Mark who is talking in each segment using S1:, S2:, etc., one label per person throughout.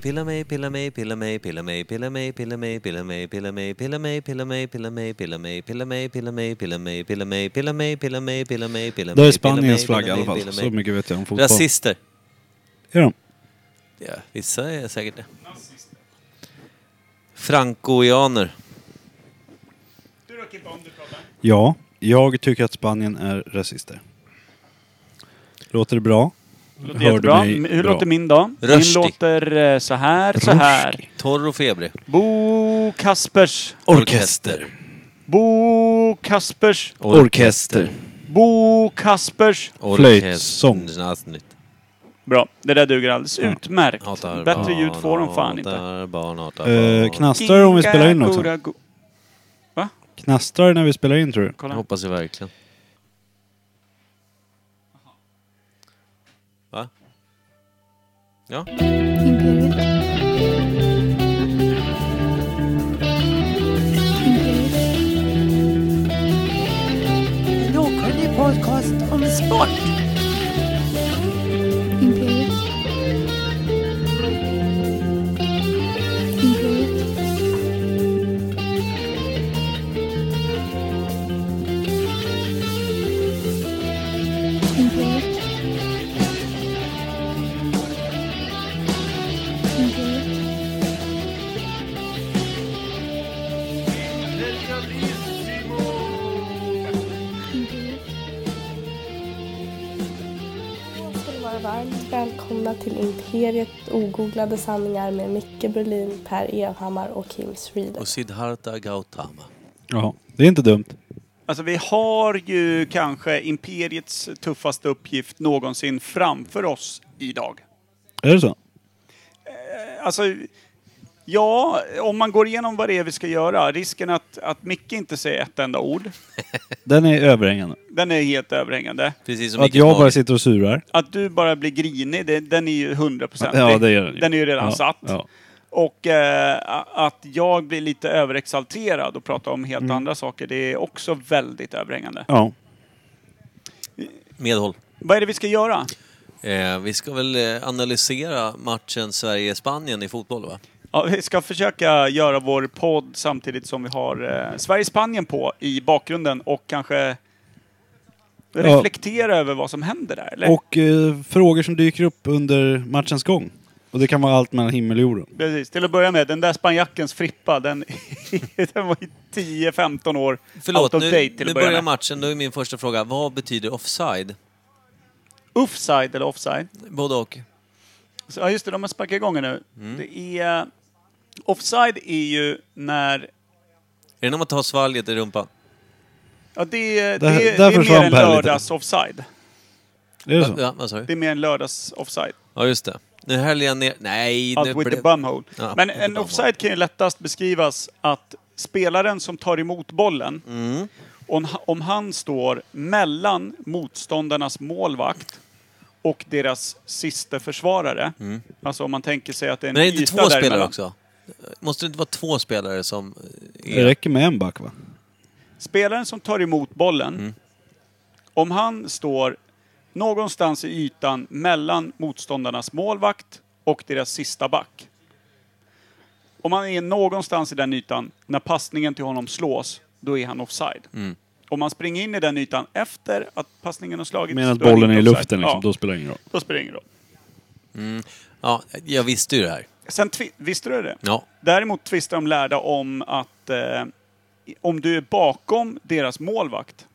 S1: Pilla mig, pilla mig, pilla mig, pilla mig, pilla mig, pilla mig, pilla mig, pilla mig, pilla mig, pilla mig, pilla mig, pilla mig, pilla mig, pilla mig, pilla mig, pilla mig, pilla mig, pilla mig, pilla mig, pilla mig.
S2: Där är Spaniens flagga i alla fall. Så mycket vet jag om fotboll.
S1: Rasister.
S2: Är de?
S1: Ja, vissa är säkert det. Francoianer.
S2: Ja, jag tycker att Spanien är rasister. Låter det bra?
S3: Låter
S2: Hör du
S3: jättebra.
S2: mig
S3: M- Hur
S2: bra?
S3: låter min då?
S1: Rushdie.
S3: Min låter eh, så här, så här.
S1: Torr och febrig.
S3: Bo Kaspers.
S1: Orkester.
S3: Bo Kaspers.
S2: Orkester.
S3: Bo Kaspers.
S2: Flöjt, sång.
S3: Bra, det där duger alldeles utmärkt.
S1: Hatar
S3: Bättre
S1: barn,
S3: ljud får de fan inte.
S1: hatar barn, hatar
S2: Eh,
S1: barn.
S2: knastrar det om vi spelar in också?
S3: Kinga-gura-gu-
S2: Knastrar det när vi spelar in tror du?
S3: Kolla.
S1: Hoppas jag verkligen. Va? Ja.
S4: Imperiet. Imperiet.
S5: En okunnig podcast om sport.
S4: Imperiet. Imperiet. Imperiet. Imperiet.
S6: ska ni vara varmt välkomna till Imperiet ogooglade sanningar med Micke Berlin, Per Evhammar och Kim Sreeder.
S1: Och Siddhartha Gautama.
S2: Ja, det är inte dumt.
S3: Alltså vi har ju kanske Imperiets tuffaste uppgift någonsin framför oss idag.
S2: Är det så?
S3: Alltså, ja, om man går igenom vad det är vi ska göra. Risken att, att Micke inte säger ett enda ord,
S2: Den är överhängande.
S3: den är helt överhängande.
S1: Precis som
S2: Och att
S1: Micke
S2: jag bara
S1: Mage.
S2: sitter och surar.
S3: Att du bara blir grinig, det, den är ju hundraprocentig.
S2: Ja, det är den ju.
S3: Den är ju redan
S2: ja,
S3: satt.
S2: Ja.
S3: Och eh, a- att jag blir lite överexalterad och pratar om
S1: Mm.
S3: helt andra saker, det är också väldigt överhängande.
S2: ja.
S1: Medhåll.
S3: Vad är det vi ska göra?
S1: Eh, vi ska väl eh, analysera matchen Sverige-Spanien i fotboll, va?
S3: Ja, vi ska försöka göra vår podd samtidigt som vi har eh, Sverige-Spanien på i bakgrunden och kanske reflektera över vad som händer där. Eller?
S2: Och eh, frågor som dyker upp under matchens gång. Och det kan vara allt mellan himmel och jorden.
S3: Precis, till att börja med, den där spanjackens frippa, den, den var ju 10-15 år
S1: Förlåt,
S3: out of
S1: nu,
S3: date till
S1: nu
S3: att börja
S1: börjar
S3: med.
S1: matchen. Då är min första fråga, vad betyder offside?
S3: Offside eller offside?
S1: Både och.
S3: Så, ja, just det, de har sparkat igång nu.
S1: Mm.
S3: Det är... eh, Offside är ju när...
S1: Är det när man tar svalget i rumpan?
S3: Ja, det, är-
S2: Där-
S3: det, är-
S2: där
S3: det är
S2: försvann
S3: mer en
S2: Per lite.
S3: lördags-offside.
S2: Är det
S1: Va-
S2: så?
S1: Ja, vad sa
S3: Det
S1: du?
S3: är mer en lördags-offside.
S1: Ja, just det. Nu höll jag ner... Nej, nu
S3: Out with the bumhole.
S1: Ja,
S3: Men
S1: with the
S3: en
S1: bumhole.
S3: offside kan ju lättast beskrivas att spelaren som tar emot bollen,
S1: Mm.
S3: om, ha- om han står mellan motståndarnas målvakt och deras sista försvarare. Alltså om man tänker sig att det är en
S1: Mm. Men är det inte
S3: yta
S1: två spelare
S3: däremellan.
S1: också? Måste det inte vara två spelare som... eh,
S2: Det räcker med en back va?
S3: Spelaren som tar emot bollen, om han står någonstans i ytan mellan motståndarnas målvakt och deras sista back. Om han är någonstans i den ytan när passningen till honom slås, då är han offside. Om han springer in i den ytan efter att passningen har slagits,
S2: Medan
S3: då han
S2: bollen är
S3: inte
S2: i
S3: offside.
S2: luften liksom,
S3: ja,
S2: då spelar det ingen roll.
S3: då spelar det ingen roll.
S1: Ja, jag visste ju det här.
S3: Sen tvi- visste du det?
S1: Ja.
S3: Däremot tvistar de lärda om att eh, om du är bakom deras målvakt,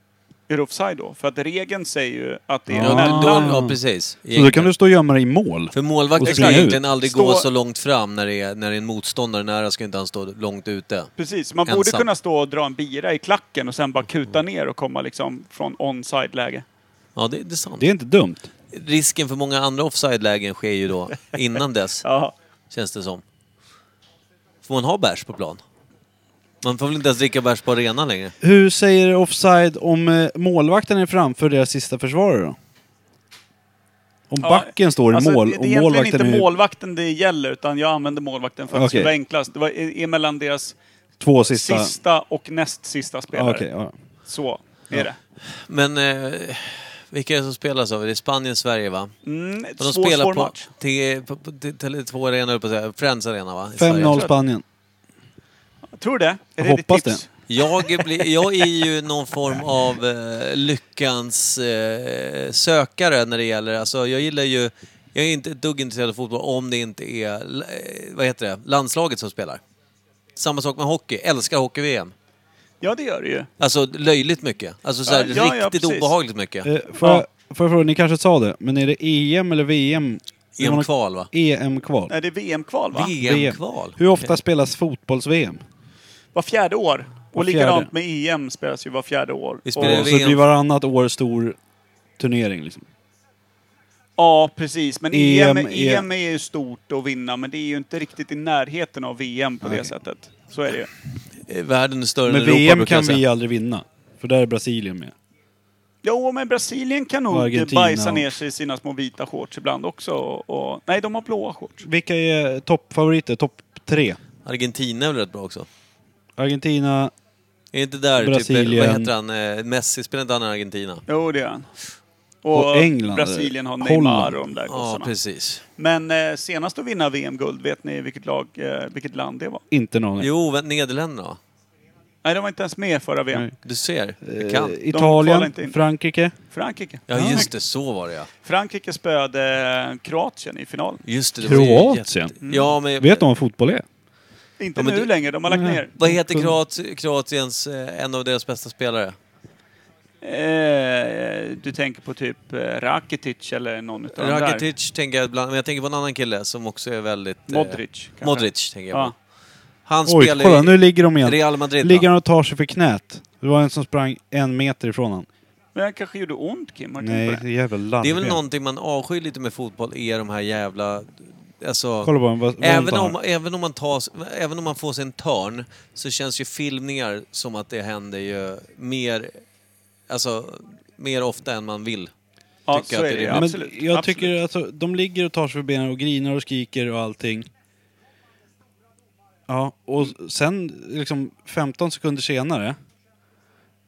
S3: är du offside då? För att regeln säger ju att det är
S1: Ja,
S3: mellan...
S1: då, ja precis.
S2: Så då kan du stå och gömma dig i mål.
S1: För
S2: och
S1: målvakten ska
S2: springa ut.
S1: egentligen aldrig gå
S3: Stå-
S1: så långt fram när det är, när det är en motståndare nära, ska inte han stå långt ute.
S3: Precis, man borde
S1: Ensam.
S3: kunna stå och dra en bira i klacken och sen bara kuta ner och komma liksom från onside-läge.
S1: Ja, det, det är sant.
S2: Det är inte dumt.
S1: Risken för många andra offside-lägen sker ju då innan dess,
S3: Ja.
S1: känns det som. Får man ha bärs på plan? Man får väl inte ens dricka bärs på arenan längre?
S2: Hur säger offside om eh, målvakten är framför deras sista försvarare då? Om
S3: Ja,
S2: backen står i
S3: Alltså,
S2: mål
S3: det är
S2: och
S3: egentligen inte
S2: målvakten är
S3: målvakten det gäller, utan jag använde målvakten för att det
S2: Okej.
S3: skulle vara enklast. Det var i- i mellan deras
S2: två sista... Ah,
S3: sista, och näst sista spelare.
S2: Ja, okej, ja.
S3: Så är det.
S1: Men eh, Vilka är det som spelas av? Det är Spanien-Sverige va?
S3: Mm, ett
S1: Och
S3: svår,
S1: de spelar
S3: svår
S1: på,
S3: match.
S1: T- på, på t- Tele2 Arena, höll på att säga. Friends Arena va? I Sverige.
S2: 5-0 Spanien.
S3: Tror du det? Är
S2: Jag
S3: det ditt
S2: hoppas
S3: tips?
S1: Jag, blir, jag är ju någon form av eh, lyckans eh, sökare när det gäller... Alltså, jag gillar ju... Jag är inte ett dugg intresserad av fotboll om det inte är eh, vad heter det, landslaget som spelar. Samma sak med hockey. Älskar hockey-VM.
S3: Ja, det gör det ju.
S1: Alltså löjligt mycket. Alltså så här,
S3: Ja, ja, ja,
S1: riktigt
S3: precis.
S1: obehagligt mycket.
S2: Eh, får,
S3: Ja.
S2: jag, får jag fråga, ni kanske sa det, men är det EM eller VM? Är man-
S1: EM-kval va?
S2: EM-kval.
S3: Nej, det är VM-kval va?
S1: VM-kval?
S2: Hur ofta spelas fotbolls-VM?
S3: Var fjärde år. Och
S2: Var
S3: likadant
S2: fjärde.
S3: med EM spelas ju var fjärde år.
S1: Vi
S2: Så
S1: spelar
S3: Och-
S1: VM.
S2: det blir varannat år stor turnering liksom.
S3: Ja, precis. Men E EM,
S2: EM
S3: EM, är ju stort att vinna, men det är ju inte riktigt i närheten av VM på det sättet. Så är det ju.
S1: Eh, Världen är större
S2: Men
S1: än Europa
S2: VM
S1: brukar jag
S2: kan
S1: säga.
S2: vi aldrig vinna. För där är Brasilien med.
S3: Jo, men Brasilien kan
S2: Och
S3: nog
S2: Argentina
S3: bajsa
S2: och-
S3: ner sig i sina små vita shorts ibland också. Och, och, nej, de har blåa shorts.
S2: Vilka är toppfavoriter? Topp tre?
S1: Argentina är väl rätt bra också?
S2: Argentina,
S1: Är inte där typ,
S2: Brasilien.
S1: vad heter han, eh, Messi, spelar inte han i Argentina?
S3: Jo, det är han.
S2: Och England,
S3: Brasilien har
S2: Holland.
S3: Neymar och de där
S1: Ja,
S3: gossarna.
S1: precis.
S3: men eh, senast att vinna VM-guld, vet ni vilket, lag, eh, vilket land det var?
S2: inte någon.
S1: Jo, vä- Nederländerna va?
S3: Nej, de var inte ens med förra VM.
S2: Nej.
S1: Du ser,
S2: Eh,
S1: jag kan.
S3: kvalar inte
S2: Italien,
S3: in.
S2: Frankrike.
S3: Frankrike.
S1: Ja, just det, så var det ja.
S3: Frankrike spöade eh, Kroatien i finalen.
S1: Just det, det var ju
S2: Kroatien? Mm.
S1: jätte- Ja, men...
S2: Vet de vad fotboll är?
S3: Inte
S1: Ja, men
S3: nu
S1: det-
S3: längre, de har lagt
S2: Nej.
S3: ner.
S1: Vad heter Kroat, Kroatiens, eh, en av deras bästa spelare?
S3: Eh, du tänker på typ eh, Rakitic eller någon utav de där?
S1: Rakitic tänker jag ibland, men jag tänker på en annan kille som också är väldigt... eh,
S3: Modric. kanske?
S1: Modric tänker jag
S3: Ja.
S1: på. Han
S2: Oj,
S1: spelar
S2: kolla
S1: i
S2: nu ligger de igen.
S1: Real Madrid va?
S2: Ligger han och tar sig för knät. Det var en som sprang en meter ifrån han.
S3: Men han kanske gjorde ont, Kim. Har du tänkt
S2: Nej,
S3: på
S2: det
S3: det?
S2: är jävla
S1: Det är
S2: larvigt.
S1: väl någonting man avskyr lite med fotboll, är de här jävla... Alltså,
S2: Kolla på honom, vad, vad ont
S1: även,
S2: han
S1: om,
S2: har.
S1: även, om man tas, även om man får sig en törn så känns ju filmningar som att det händer ju mer, alltså, mer ofta än man vill.
S3: Ja,
S1: tycker
S3: så
S1: att
S3: är
S1: det är
S3: det. ju.
S1: rimligt.
S2: Men
S3: Absolut.
S2: jag
S3: absolut.
S2: tycker alltså, de ligger och tar sig för benen och grinar och skriker och allting. Ja, och sen liksom 15 sekunder senare,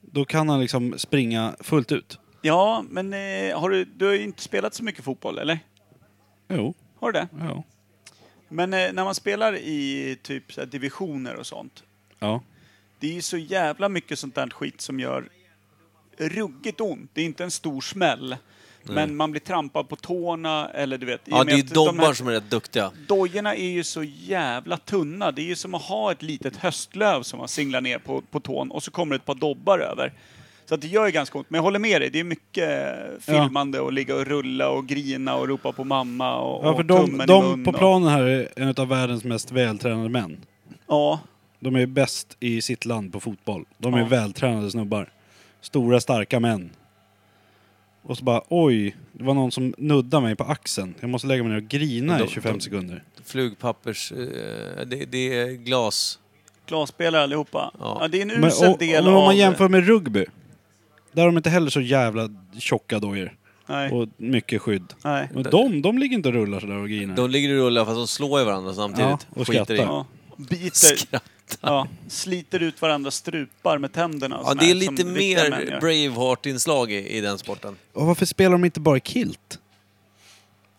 S2: då kan han liksom springa fullt ut.
S3: Ja, men eh, har du, du har ju inte spelat så mycket fotboll, eller?
S2: Jo,
S3: Har du det?
S2: ja.
S3: Men eh, när man spelar i typ så här, divisioner och sånt.
S2: Ja,
S3: Det är ju så jävla mycket sånt där skit som gör ruggigt ont. Det är inte en stor smäll. Men man blir trampad på tårna eller du vet. i och
S1: Ja,
S3: med
S1: det är ju
S3: att de
S1: dobbar
S3: här-
S1: som är rätt duktiga.
S3: Dojorna är ju så jävla tunna. Det är ju som att ha ett litet höstlöv som man singlar ner på, på tån och så kommer ett par dobbar över. Så att det gör ju ganska ont. Men jag håller med dig, det är mycket eh, filmande och ligga och rulla och grina och ropa på mamma och,
S2: ja för
S3: och
S2: de,
S3: tummen i mun
S2: de på
S3: och-
S2: planen här är en av världens mest vältränade män.
S3: Ja,
S2: De är bäst i sitt land på fotboll. De är
S3: Ja.
S2: vältränade snubbar. Stora, starka män. Och så bara, oj, det var någon som nuddade mig på axeln. Jag måste lägga mig ner och grina
S1: De-
S2: i 25
S1: de-
S2: sekunder.
S1: Flugpappers... Eh, det, det är glas.
S3: glasspelare allihopa.
S1: Ja.
S3: Ja. det är en
S2: Men,
S3: usel
S2: och,
S3: del
S2: men om
S3: av...
S2: man jämför med rugby. Där har de inte heller så jävla tjocka dojor.
S3: Nej,
S2: Och mycket skydd.
S3: nej.
S2: Men de, de ligger inte och rullar sådär och grinar.
S1: De ligger och rullar fast de slår i varandra samtidigt.
S2: Ja, och
S1: Skiter i.
S2: skrattar.
S3: Ja. Biter,
S1: Skratt.
S3: ja, sliter ut varandra strupar med tänderna. och
S1: Ja,
S3: sån
S1: det är
S3: här som
S1: lite
S3: riktiga män gör.
S1: mer Braveheart-inslag i, i den sporten.
S2: Och varför spelar de inte bara i kilt?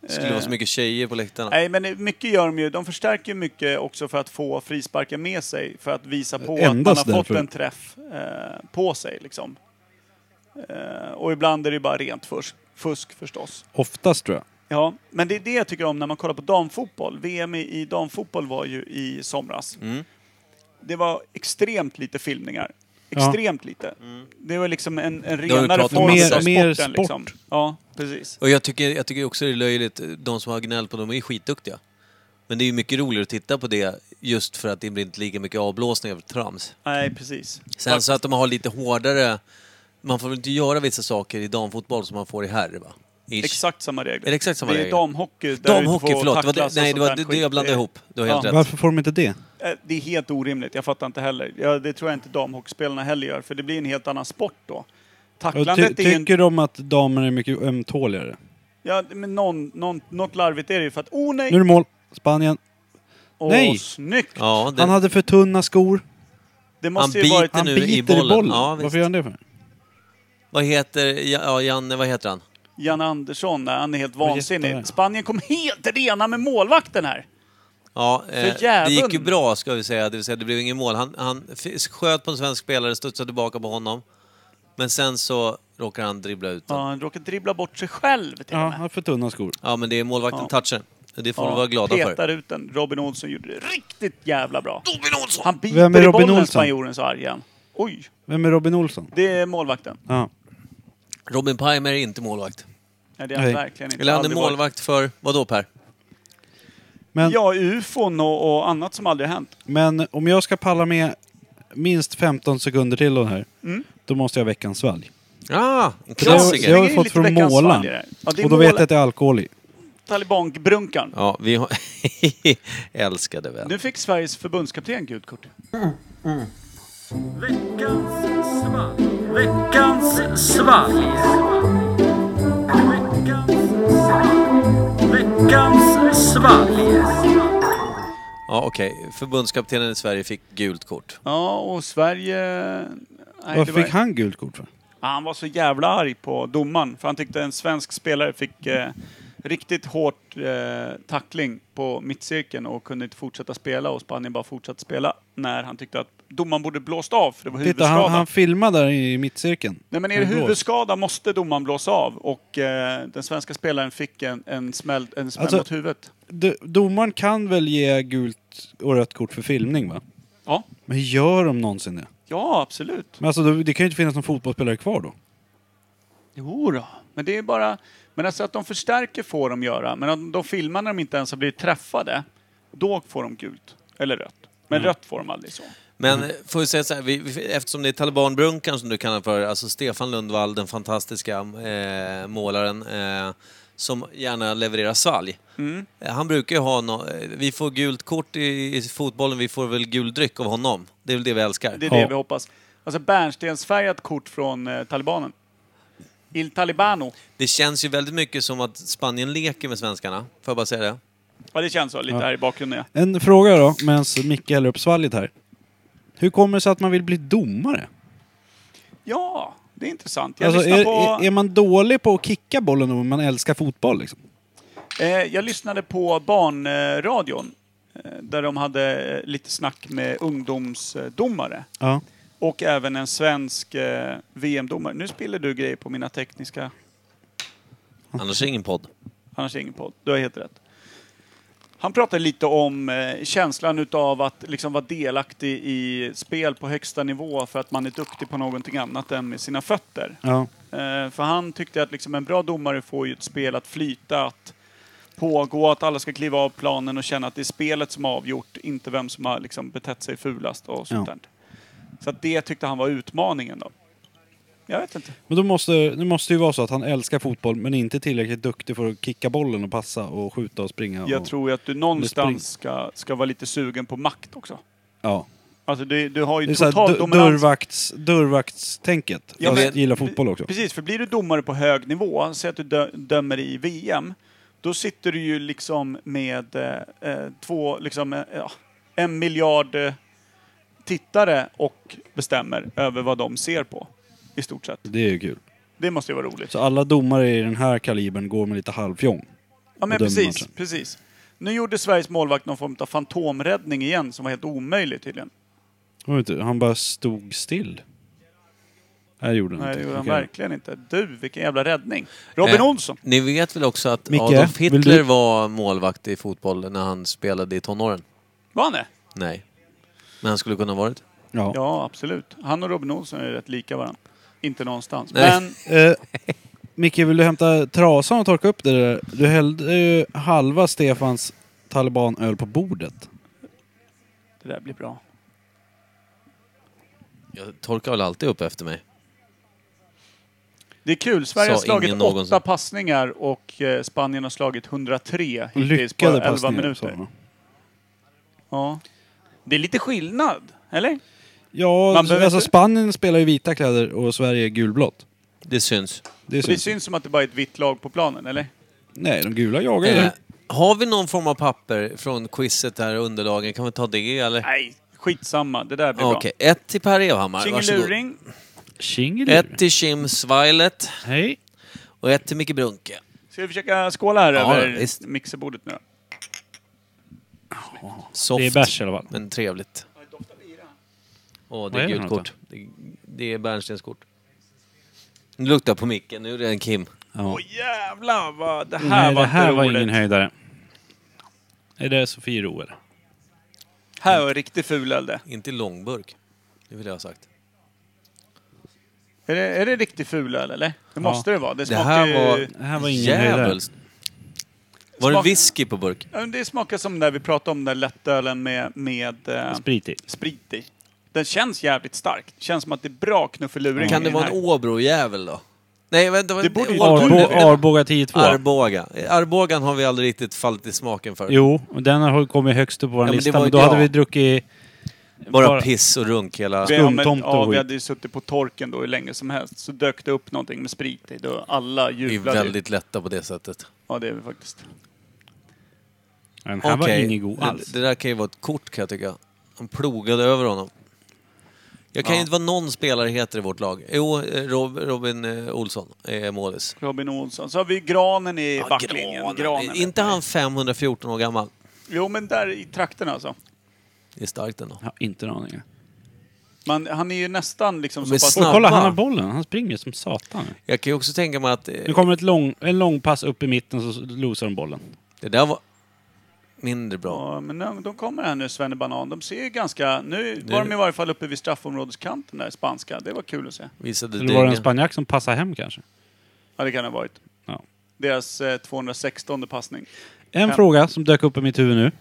S1: Det skulle
S3: Eh.
S1: vara så mycket tjejer på läktarna.
S3: Nej, men mycket gör de ju. De förstärker ju mycket också för att få frisparken med sig. För att visa på
S2: Endast
S3: att man har fått
S2: därför.
S3: en träff eh, på sig. Liksom. Eh, och ibland är det ju bara rent fusk, fusk förstås.
S2: Oftast tror jag.
S3: Ja, men det är det jag tycker om när man kollar på damfotboll. VM i, i damfotboll var ju i somras.
S1: Mm.
S3: Det var extremt lite filmningar.
S2: Ja.
S3: Extremt lite. Det var liksom en, en
S1: Mm. har vi
S3: renare
S1: pratat om
S3: form
S1: Mer-
S3: av
S2: mer
S3: sporten.
S2: sport.
S3: Liksom. Ja, precis.
S1: Och jag tycker, jag tycker också det är löjligt, de som har gnällt på dem är ju skitduktiga. Men det är ju mycket roligare att titta på det just för att det blir inte lika mycket avblåsningar för trams.
S3: Nej, precis.
S1: Sen så att de har lite hårdare... Man får väl inte göra vissa saker i damfotboll som man får i herr, va? Ish.
S3: Exakt samma regler.
S1: Är det exakt samma
S3: det är
S1: regler?
S3: damhockey. där du inte
S1: Damhockey,
S3: får
S1: förlåt. Det var
S3: tacklas
S1: det,
S3: och
S1: nej, det var
S3: sånt
S1: det,
S3: där
S1: det
S3: skit.
S1: jag blandade ihop. Du har helt
S3: Ja.
S1: rätt.
S2: Varför får de inte det?
S3: Eh, Det är helt orimligt. Jag fattar inte heller. Ja, det tror jag inte damhockeyspelarna heller gör, för det blir en helt annan sport då.
S2: Och Ty,
S3: Tacklandet är ju en...
S2: tycker de att damer är mycket ömtåligare?
S3: Ja, men någon, någon, något larvigt är det ju för att, oh nej!
S2: Nu är det mål. Spanien.
S3: Åh,
S2: Nej.
S3: snyggt!
S1: Ja, det,
S2: Han hade för tunna skor.
S3: Det
S1: han
S3: måste ju varit
S1: biter
S3: en...
S2: Han
S1: nu
S2: biter
S1: i bollen. Ja, visst.
S2: Varför gör han det för?
S1: Vad heter, ja, ja, Janne, vad heter han?
S3: Jan Andersson, nej, han är helt
S2: jätte-
S3: vansinnig. Spanien kom helt rena med målvakten här.
S1: Ja, eh, det
S3: jäveln.
S1: gick ju bra ska vi säga, det vill säga det blev ingen mål. Han, han f- sköt på en svensk spelare, studsade tillbaka på honom. Men sen så råkar han dribbla ut den.
S3: Ja,
S1: Ja,
S3: han råkade dribbla bort sig själv till
S2: Ja,
S3: och med.
S2: han har för tunna skor.
S1: men det är målvakten touchar. Det får vi
S3: Ja,
S1: vara glada
S3: petar
S1: för.
S3: ut den. Robin Olsson gjorde det riktigt jävla bra.
S1: Robin Olsson!
S3: Han biter
S2: Vem är
S3: i
S2: Robin
S3: bollen,
S2: Olsson?
S3: spanjoren, sa argen. Oj,
S2: Vem är Robin Olsson?
S3: det är målvakten.
S2: Ja.
S1: Robin Pimer är inte målvakt.
S3: Nej, det är han
S2: Nej.
S3: verkligen inte.
S1: Eller han är
S3: Aldrig varit.
S1: målvakt för, vad då Per?
S2: Men,
S3: Ja, ufon och, och annat som aldrig hänt.
S2: men om jag ska palla med minst 15 sekunder till då här,
S3: Mm.
S2: då måste jag väcka en svalg.
S1: Ah, en
S2: Det har,
S1: klassiker!
S2: det har
S3: Det är
S2: jag fått
S3: lite
S2: från
S3: veckans
S2: målaren.
S3: svalg i det här. Ja, det är
S2: och då vet jag
S3: målaren.
S2: att det är alkohol i.
S3: Talibanbrunkaren.
S1: Ja, vi har... Älskade vän.
S3: Nu fick Sveriges förbundskapten gult kort.
S1: Ja, okej. Förbundskaptenen i Sverige fick gult kort.
S3: Ja, och Sverige... Nej, det
S2: Varför
S3: var-
S2: fick han gult kort för?
S3: Ja, Han var så jävla arg på domaren, för han tyckte en svensk spelare fick eh, riktigt hårt eh, tackling på mittcirkeln och kunde inte fortsätta spela och Spanien bara fortsatte spela när han tyckte att domaren borde blåst av för det var
S2: Titta,
S3: huvudskada.
S2: han, han filmar där i mittcirkeln.
S3: Nej men är det huvudskada måste domaren blåsa av och eh, den svenska spelaren fick en, en smäll, en smäll
S2: Alltså-
S3: mot huvudet.
S2: D- Domaren kan väl ge gult och rött kort för filmning va?
S3: Ja.
S2: Men gör de någonsin det?
S3: ja, absolut.
S2: Men alltså, då- det kan ju inte finnas någon fotbollsspelare kvar då.
S3: Jo då. men det är bara... Men alltså att de förstärker får de göra, men om de filmar när de inte ens har blivit träffade, då får de gult. Eller rött. Men
S2: Mm.
S3: rött får de aldrig så.
S1: Men
S3: Mm.
S1: eh, får vi säga så här, vi, vi, eftersom det är talibanbrunkan som du kallar den för, alltså Stefan Lundvall, den fantastiska eh, målaren, eh, som gärna levererar svalg.
S3: Mm.
S1: Eh, Han brukar ju ha no, eh, vi får gult kort i, i fotbollen, vi får väl gul dryck av honom. Det är väl det vi älskar.
S3: Det är
S2: Ja.
S3: det vi hoppas. Alltså bärnstensfärgat kort från eh, talibanen. Il Talibano.
S1: Det känns ju väldigt mycket som att Spanien leker med svenskarna, får jag bara säga det?
S3: Ja, det känns så lite här i bakgrunden. Ja.
S2: En fråga då, medan Micke häller upp svalget här. Hur kommer det sig att man vill bli domare?
S3: ja, det är intressant. Jag
S2: Alltså,
S3: lyssnar
S2: är,
S3: på...
S2: är, är man dålig på att kicka bollen om man älskar fotboll liksom?
S3: Eh, jag lyssnade på barnradion eh, där de hade eh, lite snack med ungdomsdomare
S2: Ja.
S3: och även en svensk eh, VM-domare. Nu spiller du grejer på mina tekniska,
S1: Annars är det ingen podd.
S3: annars är det ingen podd. Du har helt rätt. Han pratade lite om eh, känslan utav att liksom vara delaktig i spel på högsta nivå för att man är duktig på någonting annat än med sina fötter.
S2: ja.
S3: Eh, För han tyckte att liksom en bra domare får ju ett spel att flyta, att pågå, att alla ska kliva av planen och känna att det är spelet som har avgjort, inte vem som har liksom betett sig fulast och sånt
S2: Ja.
S3: där. Så att det tyckte han var utmaningen då. Jag vet inte.
S2: Men då måste, det måste ju vara så att han älskar fotboll men inte tillräckligt duktig för att kicka bollen och passa och skjuta och springa.
S3: Jag
S2: och,
S3: tror ju att du någonstans ska, ska vara lite sugen på makt också.
S2: Ja.
S3: Alltså du, du har
S2: Det är
S3: ju
S2: så här,
S3: total
S2: d-
S3: dominans.
S2: dörrvakts, dörrvaktstänket.
S3: Ja,
S2: Ja,
S3: men-
S2: jag gillar fotboll också.
S3: Precis, för blir du domare på hög nivå, säg att du dö- dömer i VM, då sitter du ju liksom med eh, eh, två, liksom, eh, ja, en miljard eh, tittare och bestämmer över vad de ser på. I stort sett.
S2: Det är ju kul.
S3: Det måste ju vara roligt.
S2: Så alla domare i den här kalibern går med lite halvfjong.
S3: Ja men
S2: och dömer
S3: precis,
S2: matchen.
S3: precis. Nu gjorde Sveriges målvakt någon form av fantomräddning igen som var helt omöjlig tydligen.
S2: Mm, Hör du inte? Han bara stod still. Nej, det gjorde han
S3: Nej, det
S2: inte.
S3: gjorde han
S2: Okej.
S3: verkligen inte. Du, vilken jävla räddning! Robin
S1: Eh,
S3: Olsson!
S1: Ni vet väl också att
S2: Micke,
S1: Adolf
S2: vill
S1: Hitler
S2: du-
S1: var målvakt i fotboll när han spelade i tonåren?
S3: Var han det?
S1: Nej. Men han skulle kunna ha varit.
S2: Ja.
S3: Ja, absolut. Han och Robin Olsson är rätt lika varandra. Inte någonstans.
S1: Nej.
S3: Men
S2: Eh, Micke, vill du hämta trasan och torka upp det där? Du hällde ju halva Stefans talibanöl på bordet.
S3: det där blir bra.
S1: Jag torkar väl alltid upp efter mig.
S3: Det är kul. Sverige har
S1: Sa
S3: slagit åtta
S1: ingen någonsin.
S3: passningar och eh, Spanien har slagit 103 hittills på
S2: Lyckade
S3: 11
S2: passningar. sa
S3: minuter.
S2: han.
S3: Ja. Det är lite skillnad, eller?
S2: Ja,
S3: Man behöver
S2: alltså
S3: inte-
S2: Spanien spelar ju vita kläder och Sverige är gulblått.
S1: Det syns.
S2: Det är
S3: Det
S2: synd.
S3: syns som att det bara är ett vitt lag på planen, eller?
S2: Nej, de gula jagar ju.
S1: Eh, har vi någon form av papper från quizet här, underlagen? Kan vi ta det eller?
S3: Nej, skitsamma. Det där blir
S1: Okej, ett till Per Evhammar.
S3: bra.
S1: Varsågod.
S3: Tjingeluring.
S2: Tjingelur.
S1: Ett till Kim Svajlet
S2: Hej.
S1: och ett till Micke Brunke.
S3: Ska vi försöka skåla här
S1: Ja,
S3: över
S1: visst.
S3: mixerbordet nu då?
S1: Soft,
S2: Det är bärs i alla fall.
S1: men trevligt. Åh,
S2: Vad
S1: det
S2: är
S1: är
S2: det
S1: gult
S2: för
S1: kort. Det, det är bärnstenskort. Nu luktar på micken, nu är det en Kim.
S2: Ja.
S3: Åh jävlar vad... Det här
S2: Nej,
S3: var
S2: det här
S3: inte
S2: var
S3: roligt.
S2: ingen höjdare. Är det Sofiero eller?
S3: Här var riktigt ful öl det.
S1: Inte i långburk. Det vill jag ha sagt.
S3: Är det, är det riktigt ful öl eller? Det måste det vara. Det
S1: Det
S3: smakar
S1: här
S3: ju...
S1: var...
S2: Det här var ingen höjdare.
S1: Djävulskt. Var det
S3: Smak-
S1: whisky på burk?
S3: Ja, men Det smakar som när vi pratade om den där lättölen med, med eh,
S2: Spritigt.
S3: sprit i. Den känns jävligt stark. Känns som att det är bra knuffeluring
S1: Kan
S3: i
S1: det
S3: den
S1: vara
S3: här.
S1: en Åbrojävel då? Nej, vänta. vad-
S3: Det borde ju-
S1: Åbo-
S2: Arbo-
S1: Arboga.
S2: Arboga 10-2.
S1: Arboga. Arbogan har vi aldrig riktigt fallit i smaken för.
S2: Jo, och den har kommit högst upp på vår
S1: Ja, men det
S2: lista.
S1: var
S2: Men
S1: ju
S2: då
S1: jag.
S2: hade vi druckit...
S1: bara,
S2: bara-
S1: piss och runk hela...
S3: Vi, ja, men,
S2: Skumtomte och
S3: ja, vi
S2: skit.
S3: hade ju suttit på torken då hur länge som helst. Så dök det upp någonting med sprit i. Då alla
S1: Vi är
S3: jublade. ju.
S1: väldigt lätta på det sättet.
S3: Ja, det är vi faktiskt.
S2: Den här var
S1: Okej,
S2: ingen god alls.
S1: Det, det där kan ju vara ett kort kan jag tycka. Han plogade över honom. Jag kan ju inte vara någon spelare heter i vårt lag. Jo, eh, Rob, Robin eh, Olsson är målis.
S3: Robin Olsson. Så har vi granen i
S1: Ja, Eh,
S3: backlinjen. Granen.
S1: Inte han 514 år gammal?
S3: Jo, men där i trakten alltså.
S1: Det är starkt ändå.
S2: Jag har inte en aning.
S3: Man, han är ju nästan liksom så
S1: Men
S3: pass...
S1: snabbt.
S2: Och kolla,
S1: Snabba.
S2: han har bollen. Han springer som satan.
S1: Jag kan ju också tänka mig att... eh,
S2: Nu kommer ett lång, en lång pass upp i mitten så losar de bollen.
S1: Det där var mindre bra.
S3: Ja, men de, de kommer här nu, Svenne Banan. De ser ju ganska... Nu,
S1: Nu-
S3: var de i varje fall uppe vid straffområdeskanten där, spanska. Det var kul att se.
S1: Visade
S2: Eller var det en
S1: dynga.
S2: spanjack som passade hem kanske?
S3: Ja, det kan det ha varit.
S2: Ja.
S3: Deras eh, 216 passning.
S2: En
S3: Ja.
S2: fråga som dök upp i mitt huvud nu.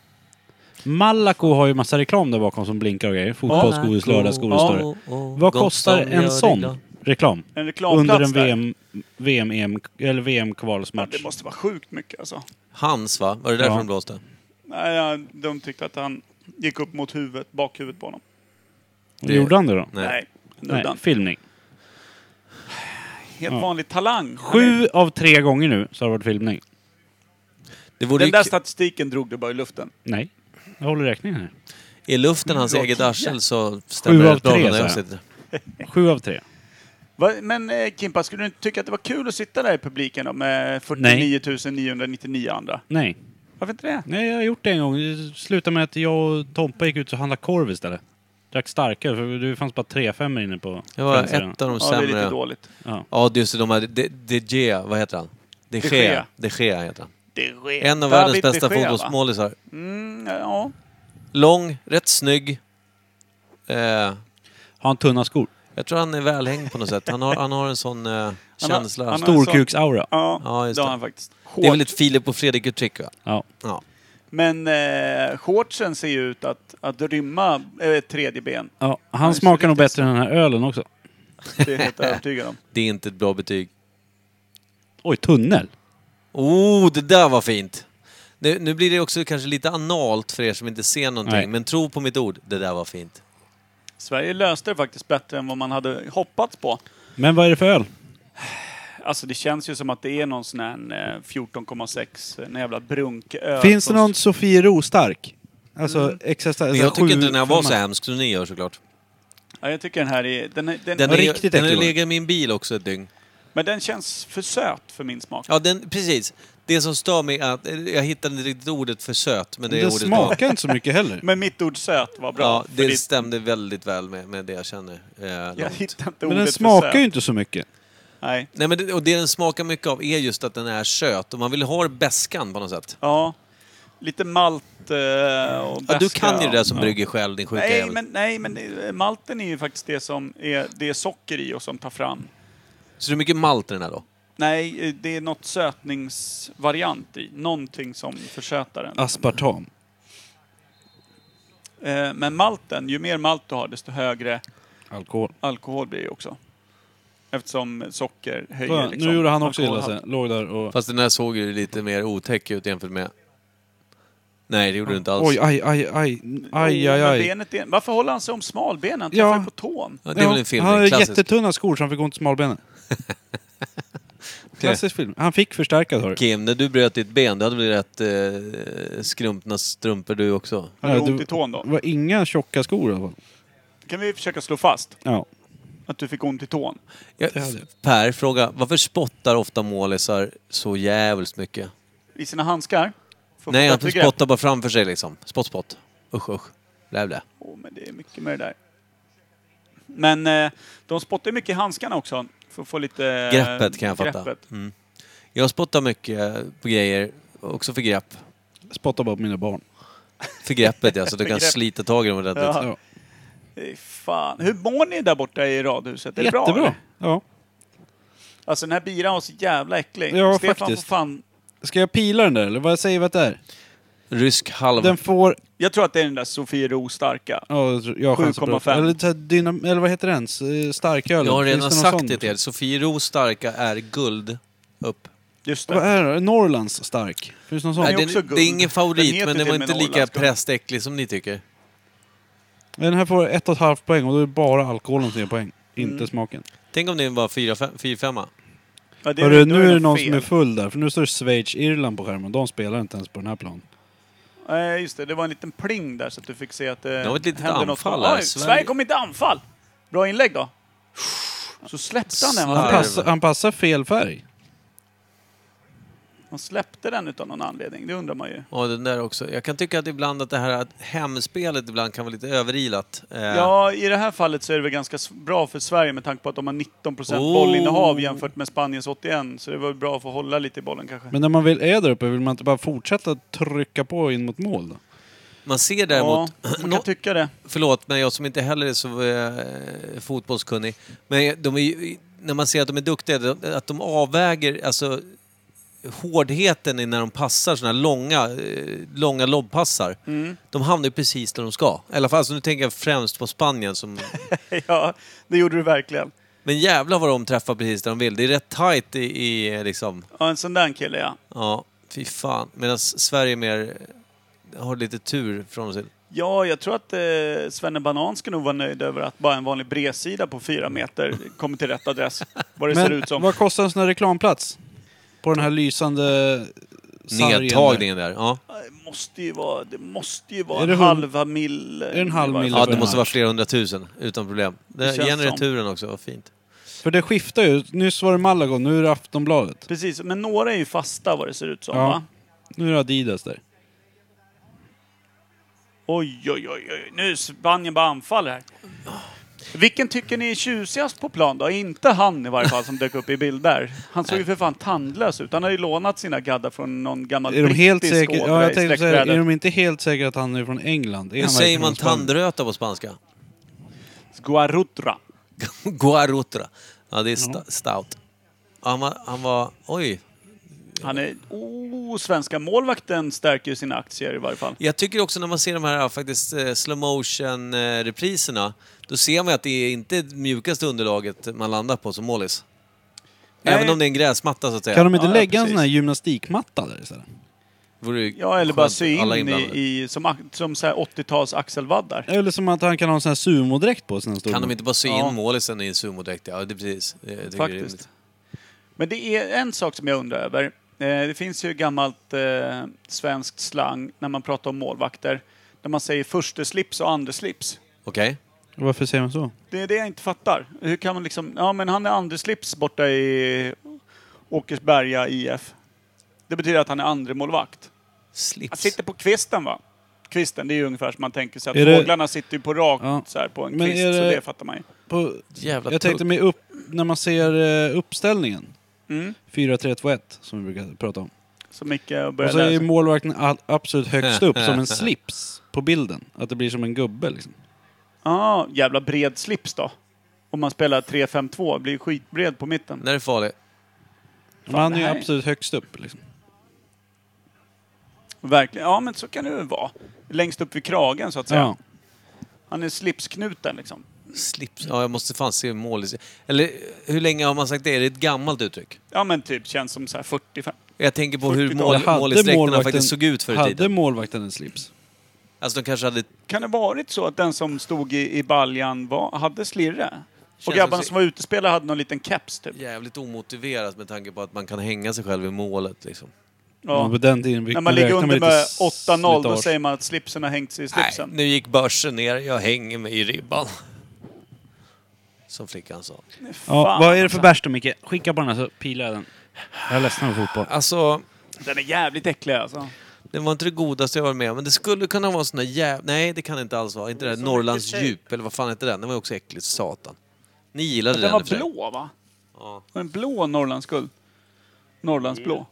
S2: Malaco har ju massa reklam där bakom som blinkar och grejer. Fotbollsgodis, lördagsgodis
S3: Ja.
S2: står det. Vad kostar en sån reklam?
S3: En reklamplats
S2: Under en
S3: där.
S2: VM, VM, EM, eller
S3: Ja,
S2: VM-kvalsmatch.
S3: det måste vara sjukt mycket alltså.
S1: Hans va? Var det därför
S2: Ja.
S1: de blåste?
S3: Nej, ja, de tyckte att han gick upp mot huvudet, bakhuvudet på honom.
S1: det-
S2: Gjorde han det då?
S1: Nej.
S3: Nej,
S2: Nej,
S3: nuddan.
S2: filmning.
S3: Helt vanlig talang.
S2: Sju av tre gånger nu så har det varit filmning.
S1: Det vore
S3: Den
S1: ju
S3: där
S1: k-
S3: statistiken drog du bara i luften.
S2: Nej. Jag håller räkningen här.
S1: I luften hans
S3: Sju av
S1: eget
S3: tio.
S1: arsel så stämmer
S2: av
S1: det rätt bra
S2: tre,
S1: med
S2: sa
S1: när jag
S2: jag.
S1: sitter.
S2: Sju av tre.
S3: Va? Men eh, Kimpa, skulle du inte tycka att det var kul att sitta där i publiken då, med 49
S2: Nej.
S3: 999 andra?
S2: Nej.
S3: Varför inte det?
S2: Nej, jag har gjort det en gång. Det slutade med att jag och Tompa gick ut och handlade korv istället. Drack starkare, för det fanns bara tre femmor inne på
S1: Det var
S2: Friends-sidan.
S1: ett av de
S3: Ja, det är lite
S1: sämre.
S3: dåligt.
S1: Ja, just det. De här, De, de Gea, vad heter han? De
S3: De
S1: Gea.
S3: Gea.
S1: De Gea heter han.
S3: Det är
S1: En av
S3: David
S1: världens
S3: De
S1: bästa
S3: Gea, va?
S1: fotbollsmålisar.
S3: Mm, ja.
S1: Lång, rätt snygg. Eh,
S2: Har han tunna skor?
S1: jag tror han är välhängd på något sätt. Han har, han har en sån eh, känsla.
S3: han har-
S1: Stor-
S2: Storkuksaura?
S3: Ja,
S1: Ja, just
S3: det har
S1: det.
S3: han faktiskt.
S1: det är väl
S3: Hårt.
S1: ett Filip och Fredrik uttryck va?
S2: Ja.
S1: Ja.
S3: Men eh, shortsen ser ju ut att, att rymma eh, ett tredje ben.
S2: ja. Han
S3: Ja, just det,
S2: smakar nog
S3: riktigt.
S2: bättre än den här ölen också.
S3: Det är jag helt övertygad om.
S1: Det är inte ett bra betyg.
S2: Oj, tunnel?
S1: Oh, det där var fint! Nu, nu blir det också kanske lite analt för er som inte ser någonting,
S2: Nej.
S1: men tro på mitt ord, det där var fint.
S3: Sverige löste det faktiskt bättre än vad man hade hoppats på.
S2: Men vad är det för öl?
S3: Alltså det känns ju som att det är någon sån här eh, 14,6, en eh, jävla brunköl.
S2: Finns det
S3: som-
S2: någon Sofiero stark? Alltså extra stark?
S1: Mm. Men
S2: alltså
S1: jag tycker
S2: sju
S1: inte den här var
S2: femma.
S1: så hemsk som ni gör såklart.
S3: Ja, jag tycker den här är... Den, är- den,
S1: Den,
S2: var
S1: är,
S2: riktigt
S1: den har
S2: äcklig, va?
S1: legat i min bil också ett dygn.
S3: Men den känns för söt för min smak.
S1: Ja, den, precis. Det som stör mig är att eh, jag hittade inte riktigt ordet för söt, men det,
S2: Den
S1: ordet var...
S2: smakar inte så mycket heller.
S3: Men mitt ord söt var bra.
S1: Ja,
S3: för
S1: det
S3: det-
S1: stämde väldigt väl med, med det jag känner. Eh,
S3: jag
S1: långt.
S3: hittar inte
S2: Men
S3: ordet
S2: den
S3: för
S2: smakar
S3: söt.
S2: ju inte så mycket.
S3: Nej.
S1: Nej, men det, och det den smakar mycket av är just att den är söt och man vill ha bäskan på något sätt.
S3: Ja. Lite malt eh, och
S1: Ja,
S3: beska.
S1: du kan ju det där som brygger själv, din sjuka
S3: Nej
S1: jävel.
S3: men, nej, men det- malten är ju faktiskt det som är, det är socker i och som tar fram.
S1: Så det är mycket malt i den här då?
S3: Nej, eh, det är något sötningsvariant i. Någonting som försötar den.
S2: Aspartam.
S3: Eh, Men malten, ju mer malt du har desto högre
S2: Alkohol.
S3: alkohol blir det ju också. Eftersom socker höjer
S2: Fan,
S3: liksom
S2: nu gjorde han också illa
S3: alkoholhalt.
S2: sig. Låg där och...
S1: Fast den här såg ju lite mer otäck ut jämfört med... Nej, det gjorde du inte alls.
S2: Oj, aj, aj, aj. Aj,
S3: Jo,
S2: aj,
S3: Oh, men
S2: aj.
S3: Benet är... Varför håller han sig om smalbenen? Han
S2: Ja.
S3: träffar ju på tån.
S1: Ja, det är väl
S2: Ja,
S1: en film,
S2: Han hade
S1: en klassisk.
S2: jättetunna skor så han fick ont i smalbenen. Klassisk film. Han fick förstärkad hår.
S1: Kim, när du bröt ditt ben, då hade du rätt eh, skrumpna strumpor du också.
S3: Han har
S2: Ja,
S3: ont
S2: du-
S3: i tån då.
S2: Det var inga tjocka skor i alla fall.
S3: kan vi försöka slå fast.
S2: Ja.
S3: Att du fick ont i tån.
S1: Ja,
S2: Det hade jag.
S1: per, fråga. Varför spottar ofta målisar så jävligt mycket?
S3: I sina handskar. För att
S1: Nej,
S3: få
S1: att
S3: bättre
S1: de
S3: grepp.
S1: spottar bara framför sig liksom. Spott, spott. Usch, usch. Blä, blä.
S3: Åh, men det är mycket med det där. Men eh, de spottar ju mycket i handskarna också. För att få lite... eh,
S1: Greppet kan jag fatta.
S3: greppet.
S1: Mm. Jag spottar mycket på grejer, också för grepp.
S2: Spotta bara på mina barn.
S1: För greppet ja, så du
S3: För
S1: kan
S3: grepp.
S1: slita tag i dem ordentligt.
S3: Ja.
S2: Ja.
S3: Fy Fan. Hur mår ni där borta i radhuset? Är det bra?
S2: Jättebra.
S3: eller?
S2: Ja.
S3: Alltså den här biran var så jävla äcklig.
S2: Ja,
S3: Stefan
S2: faktiskt.
S3: får fan...
S2: Ska jag pila den där eller vad säger vi att det är?
S1: Rysk halv...
S2: Den får...
S3: Jag tror att det är den där Sofiero starka.
S2: Ja, jag tror- jag har chansen på det.
S3: 7,5.
S2: Eller, så här dynam, eller vad heter den? S- eh, Starköl?
S1: Jag har
S2: Finns
S1: redan
S2: någon
S1: sagt
S2: sån?
S1: det till er. Sofiero starka är guld. Upp.
S3: Just
S2: Vad
S3: det.
S2: är det? Norrlands stark? Finns det någon sån?
S3: Den är
S1: Nej,
S3: också
S1: den,
S3: guld.
S1: det är ingen
S3: Den
S1: favorit,
S3: heter
S1: men
S3: typ
S1: den
S3: till
S1: var
S3: och med
S1: inte lika
S3: Norrlands guld.
S1: prästäcklig som ni tycker.
S2: Den här får ett och ett halvt poäng och då är det bara alkoholen som ger poäng. Inte
S3: Mm.
S2: smaken.
S1: Tänk om den var 4-5.
S3: Ja, det
S2: Hörru,
S3: då
S2: nu är det
S3: något
S2: någon
S3: fel.
S2: som är full där. För nu står det Schweiz-Irland på skärmen. De spelar inte ens på den här planen.
S3: Nej, just det. Det var en liten pling där så att du fick se att det
S1: var ett litet
S3: hände något.
S1: anfall här.
S3: Oj,
S1: Sverige-
S3: Sverige kom inte anfall! Bra inlägg då. Så släppte han den. va?
S2: Han,
S1: Slarv.
S2: passar- han passar fel färg.
S3: Han släppte den utan någon anledning, det undrar man ju.
S1: Ja, den där också. Jag kan tycka att ibland att det här att hemspelet ibland kan vara lite överilat. Eh,
S3: Ja, i det här fallet så är det väl ganska s- bra för Sverige med tanke på att de har 19%
S1: Oh.
S3: bollinnehav jämfört med Spaniens 81. Så det var bra för att hålla lite i bollen kanske.
S2: Men när man väl är där uppe, vill man inte bara fortsätta trycka på in mot mål då?
S1: Man ser
S3: ja,
S1: däremot...
S3: man
S1: Nå-
S3: kan tycka det.
S1: Förlåt, men jag som inte heller är så eh, fotbollskunnig. Men de är, ju- när man ser att de är duktiga, de- att de avväger alltså, hårdheten i när de passar sådana här långa, eh, långa lobbpassar.
S3: Mm.
S1: De hamnar ju precis där de ska. I alla fall, alltså, nu tänker jag främst på Spanien. Som,
S3: Ja, det gjorde du verkligen.
S1: men jävlar vad de träffar precis där de vill. Det är rätt tight i, i eh, liksom...
S3: Ja, en sån där kille ja.
S1: Ja, fy fan. Medan Sverige mer eh, har lite tur från sig.
S3: Ja, jag tror att eh, Svenne Banan ska nog vara nöjd över att bara en vanlig bredsida på fyra meter kommer till rätt adress. Vad det ser
S2: Men
S3: ut som.
S2: vad kostar en sån här reklamplats? På den här lysande sargen där.
S1: Nedtagningen där. Ja.
S3: Det måste ju vara, det måste ju vara
S2: Är
S3: en
S2: det hund-
S3: halva mil. Är
S2: det en halv mil?
S1: Ja, det
S2: för
S1: måste
S2: en
S1: vara
S2: match.
S1: flera hundratusen utan problem. Det
S3: Det känns
S1: igen
S3: som.
S1: returen också, vad fint.
S2: För det skiftar ju. Nyss var det Malaga, nu är det Aftonbladet.
S3: Precis, men några är ju fasta vad det ser ut som
S2: Ja.
S3: va?
S2: Nu är det Adidas där.
S3: Oj, oj, oj, oj. Nu är Spanien bara anfaller här. Vilken tycker ni är tjusigast på plan då? Inte han i varje fall som dök upp i bild där. Han såg ju för fan tandlös ut. Han har ju lånat sina gaddar från någon gammal
S2: Är de helt
S3: brittisk
S2: säkra? Ja, jag
S3: ådra i
S2: tänkte säga, är
S3: sträckbrädet.
S2: de inte helt säkra att han är från England? Är
S1: Hur
S2: han
S1: säger
S2: verkligen
S1: man
S2: från Spanien?
S1: tandröta på spanska?
S3: Guarutra.
S1: Guarutra. Ja, det är sta- stout. Ja, Han var, han var... Oj.
S3: Han är... Oh, svenska målvakten stärker ju sina aktier i varje fall.
S1: Jag tycker också när man ser de här faktiskt eh, slow motion eh, repriserna då ser man att det är inte det mjukaste underlaget man landar på som målis.
S3: Nej.
S1: Även om det är en gräsmatta så att säga.
S2: Kan de inte
S3: Ja,
S2: lägga en
S3: precis.
S2: sån här gymnastikmatta där istället?
S1: Vore ju
S3: Ja, eller bara
S1: skönt,
S3: sy in
S1: alla
S3: i,
S1: inblandade.
S3: i som, ak- som så här 80-tals axelvaddar.
S2: Eller som att han kan ha en sån här sumodräkt på sig när han står
S1: Kan de
S2: med.
S1: inte bara sy in
S3: Ja.
S1: målisen i en sumodräkt? Ja, det är precis. Jag tycker det är rimligt.
S3: Faktiskt. Men det är en sak som jag undrar över. Eh, Det finns ju gammalt eh, svenskt slang när man pratar om målvakter. När man säger förste slips och andra slips.
S1: Okej.
S2: Varför säger man så?
S3: Det är det jag inte fattar. Hur kan man liksom... Ja, men han är andra slips borta i Åkersberga IF. Det betyder att han är andra målvakt. Han
S1: Slips.
S3: sitter på kvisten va? Kvisten, det är ju ungefär som man tänker sig att
S2: Är det-
S3: fåglarna sitter ju på rakt
S2: Ja.
S3: så här på en
S2: Men
S3: kvist.
S2: är
S3: Så
S2: det-
S3: det fattar man ju.
S2: På,
S1: Jävla
S2: jag tänkte
S1: tugg.
S2: mig upp, när man ser eh, uppställningen.
S3: Mm.
S2: 4-3-2-1 som vi brukar prata om.
S3: Så Micke
S2: Och
S3: börjar
S2: så är ju
S3: läsa.
S2: målvakten all, absolut högst upp som en slips på bilden. Att det blir som en gubbe liksom.
S3: Ja, jävla bred slips då. Om man spelar 3-5-2, blir ju skitbred på mitten.
S1: När är det farligt?
S2: Men han är ju
S3: nej.
S2: absolut högst upp liksom.
S3: Verkligen. Ja, men så kan det ju vara. Längst upp vid kragen så att säga.
S2: Ja.
S3: Han är slipsknuten liksom.
S1: Slips? Ja, jag måste fan se mål. i- Eller hur länge har man sagt det? Är det ett gammalt uttryck?
S3: Ja, men typ känns som så här 45.
S1: Jag tänker på hur
S3: 40-tal.
S1: mål, målisträkterna faktiskt såg ut förr i
S2: hade
S1: tiden.
S2: målvakten en slips?
S1: Alltså de kanske hade...
S3: Kan det varit så att den som stod i, i baljan var, hade slirre?
S1: som
S3: Och grabbarna
S1: sig-
S3: som var utespelare hade någon liten keps typ.
S1: Jävligt omotiverat med tanke på att man kan hänga sig själv i målet liksom.
S2: Ja.
S3: Ja.
S2: på den tiden fick
S3: När man ligger
S2: räkna
S3: under
S2: lite
S3: med 8-0, då
S2: slitage.
S3: säger man att slipsen har hängt sig i
S1: Nej,
S3: slipsen.
S1: nu gick börsen ner. Jag hänger mig i ribban. som flickan sa.
S2: Ja,
S3: Fan,
S2: vad är det för
S3: alltså.
S2: bärs då Micke? Skicka på den här så pilar jag den. Jag är ledsen över fotboll.
S1: Alltså,
S3: Den är jävligt äcklig alltså.
S1: det var inte det godaste jag varit med om, men det skulle kunna vara en sån där jäv... Nej, det kan det inte alls vara. Inte det där Norrlands djup, eller vad fan hette den? Den var ju också äcklig, satan. Ni gillade
S3: Den
S1: den
S3: var
S1: i och för sig.
S3: blå va?
S1: Ja.
S3: Och en blå Norrlandsguld. Norrlandsblå.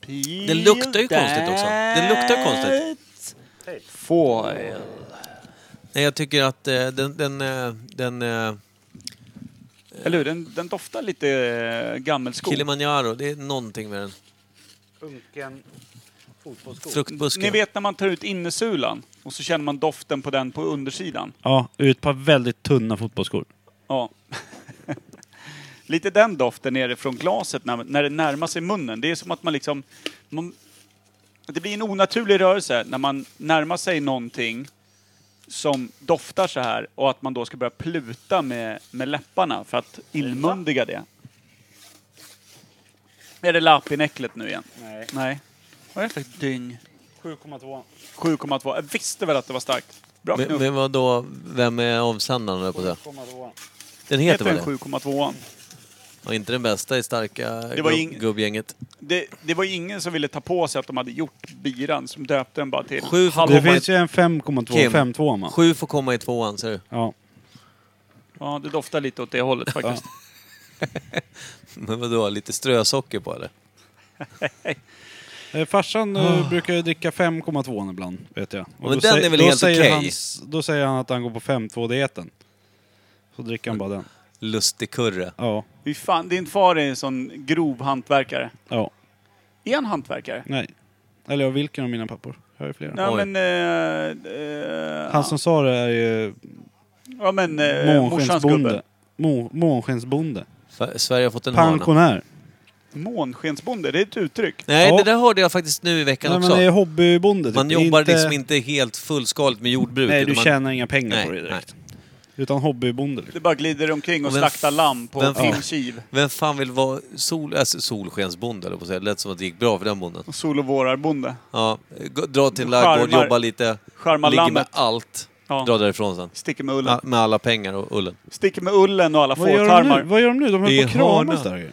S3: Peel
S1: Den luktar ju konstigt också. Den luktar konstigt.
S3: Foil.
S1: Nej, jag tycker att eh, den... den, eh, den eh,
S3: Eller hur? Den, den doftar lite eh, gammelskog.
S1: Kilimanjaro, det är någonting med den.
S2: Punken fotbollssko.
S1: Fruktbusken.
S3: Ni vet när man tar ut innersulan och så känner man doften på den på undersidan.
S2: Ja, ut på väldigt tunna fotbollsskor.
S3: Ja. Lite den doften nere från glaset när, när det närmar sig munnen. Det är som att man liksom... Man, det blir en onaturlig rörelse när man närmar sig någonting som doftar så här och att man då ska börja pluta med, med läpparna för att inmundiga det. Är det lapinäcklet nu igen?
S2: Nej.
S3: Nej. Vad är det för dyng?
S2: 7,2.
S3: 7,2. Jag visste väl att det var starkt. Bra
S1: Men,
S3: knuff.
S1: men vadå, vem är avsändaren höll jag på att säga? Den heter
S3: Heter
S1: väl
S3: den
S1: det?
S3: 7,2?
S1: Och inte den bästa i starka
S3: var
S1: gubb-
S3: ing-
S1: gubbgänget.
S3: Det, det var ju ingen som ville ta på sig att de hade gjort biran, som döpte den bara till...
S1: Sju får,
S2: Det
S1: komma
S2: finns
S1: i,
S2: ju en 5,2
S1: Kim.
S2: 5,2 man.
S1: sju får komma i tvåan, ser du.
S2: Ja.
S3: Ja, det doftar lite åt det hållet faktiskt.
S1: Men vadå, lite strösocker på eller?
S2: Eh, Farsan eh, brukar ju dricka 5,2 ibland, vet jag. Och
S1: Ah. men den är väl
S2: då
S1: helt
S2: säger
S1: okej?
S2: hans- Då säger han att han går på 5,2-dieten. Så dricker han bara den.
S1: Lustig kurre.
S2: Ja.
S3: Fy fan, din far är en sån grov hantverkare.
S2: Ja.
S3: Är han hantverkare?
S2: Nej. Eller ja, vilken av mina pappor? Jag har ju flera.
S3: Ja,
S1: Oj.
S3: men... Eh, eh,
S2: Han som sa det är
S1: Eh,
S2: ju
S3: ja, men eh, morsans
S2: månskensbonde.
S3: gubbe.
S2: Mo- Månskensbonde.
S1: F- Sverige har fått en hane.
S2: Pensionär.
S3: Månskensbonde, det är ett uttryck.
S1: Nej,
S2: Ja.
S1: det där hörde jag faktiskt nu i veckan
S2: Nej men
S1: också.
S2: det är hobbybonde. typ.
S1: Man
S2: Det är
S1: jobbar
S2: inte-
S1: liksom inte helt fullskaligt med jordbruk.
S2: Nej, du
S1: utan man...
S2: tjänar inga pengar
S1: Nej,
S2: på det direkt. Utan hobbybonde. Liksom.
S3: Du bara glider omkring och
S1: Och vem f-
S3: slaktar lamm på
S1: vem
S3: en
S1: fan-
S3: filmkiv.
S1: Vem fan vill vara sol... alltså, solskensbonde, eller på att säga. Det lät som att det gick bå för den bonden.
S3: Sol och vårarbonde.
S1: Ja, gå- dra till en
S3: Charmar-
S1: ladugård, jobba lite,
S3: charmar
S1: ligga med
S3: lammet.
S1: allt,
S3: Ja.
S1: dra därifrån sen.
S3: Sticker med ullen.
S1: Ja, Med alla pengar och ullen.
S3: Sticker med ullen och alla
S2: Vad gör, de nu?
S3: fårtarmar.
S2: Vad gör de nu? De
S1: Det
S2: höll på
S1: är
S2: att kramas
S1: hörna.
S2: där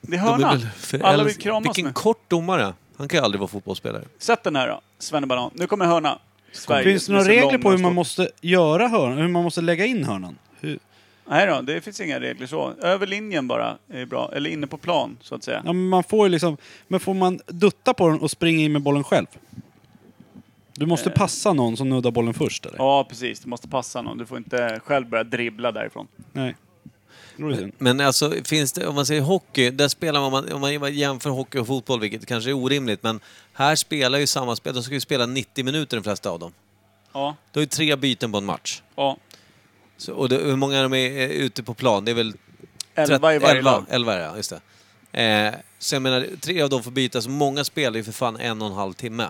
S3: Det är
S1: De är
S3: hörna.
S1: väl förälsk-
S3: Alla vill kramas
S1: Vilken
S3: nu.
S1: kort domare. Han kan ju aldrig vara fotbollsspelare.
S3: Sätt den här då, Svennebanan. Nu kommer hörna. Sverige,
S2: Finns det några
S3: med sin
S2: regler på hur
S3: långa
S2: man måste göra hörnan? Hur man måste lägga in hörnan? Hur?
S3: Nej då, det finns inga regler så. Över linjen bara är bra. Eller inne på plan, så att säga.
S2: Ja, men man får ju liksom... Men får man dutta på den och springa in med bollen själv? Du måste
S1: Eh.
S2: passa någon som nuddar bollen först eller?
S3: Ja, precis. Du måste passa någon. Du får inte själv börja dribbla därifrån.
S2: Nej. Det var ju synd.
S1: Men alltså, finns det, om man säger hockey, där spelar man, om man- om man jämför hockey och fotboll, vilket kanske är orimligt, men här spelar ju samma spel, de ska ju spela 90 minuter de flesta av dem.
S3: Ja,
S1: Då är ju tre byten på en match.
S3: ja.
S1: Så, och det, hur många de är eh, ute på plan, det är väl...
S3: Elva i varje lag.
S1: 11 ja, just det. Eh, så jag menar, tre av dem får byta, så många spelar ju för fan en och en halv timme.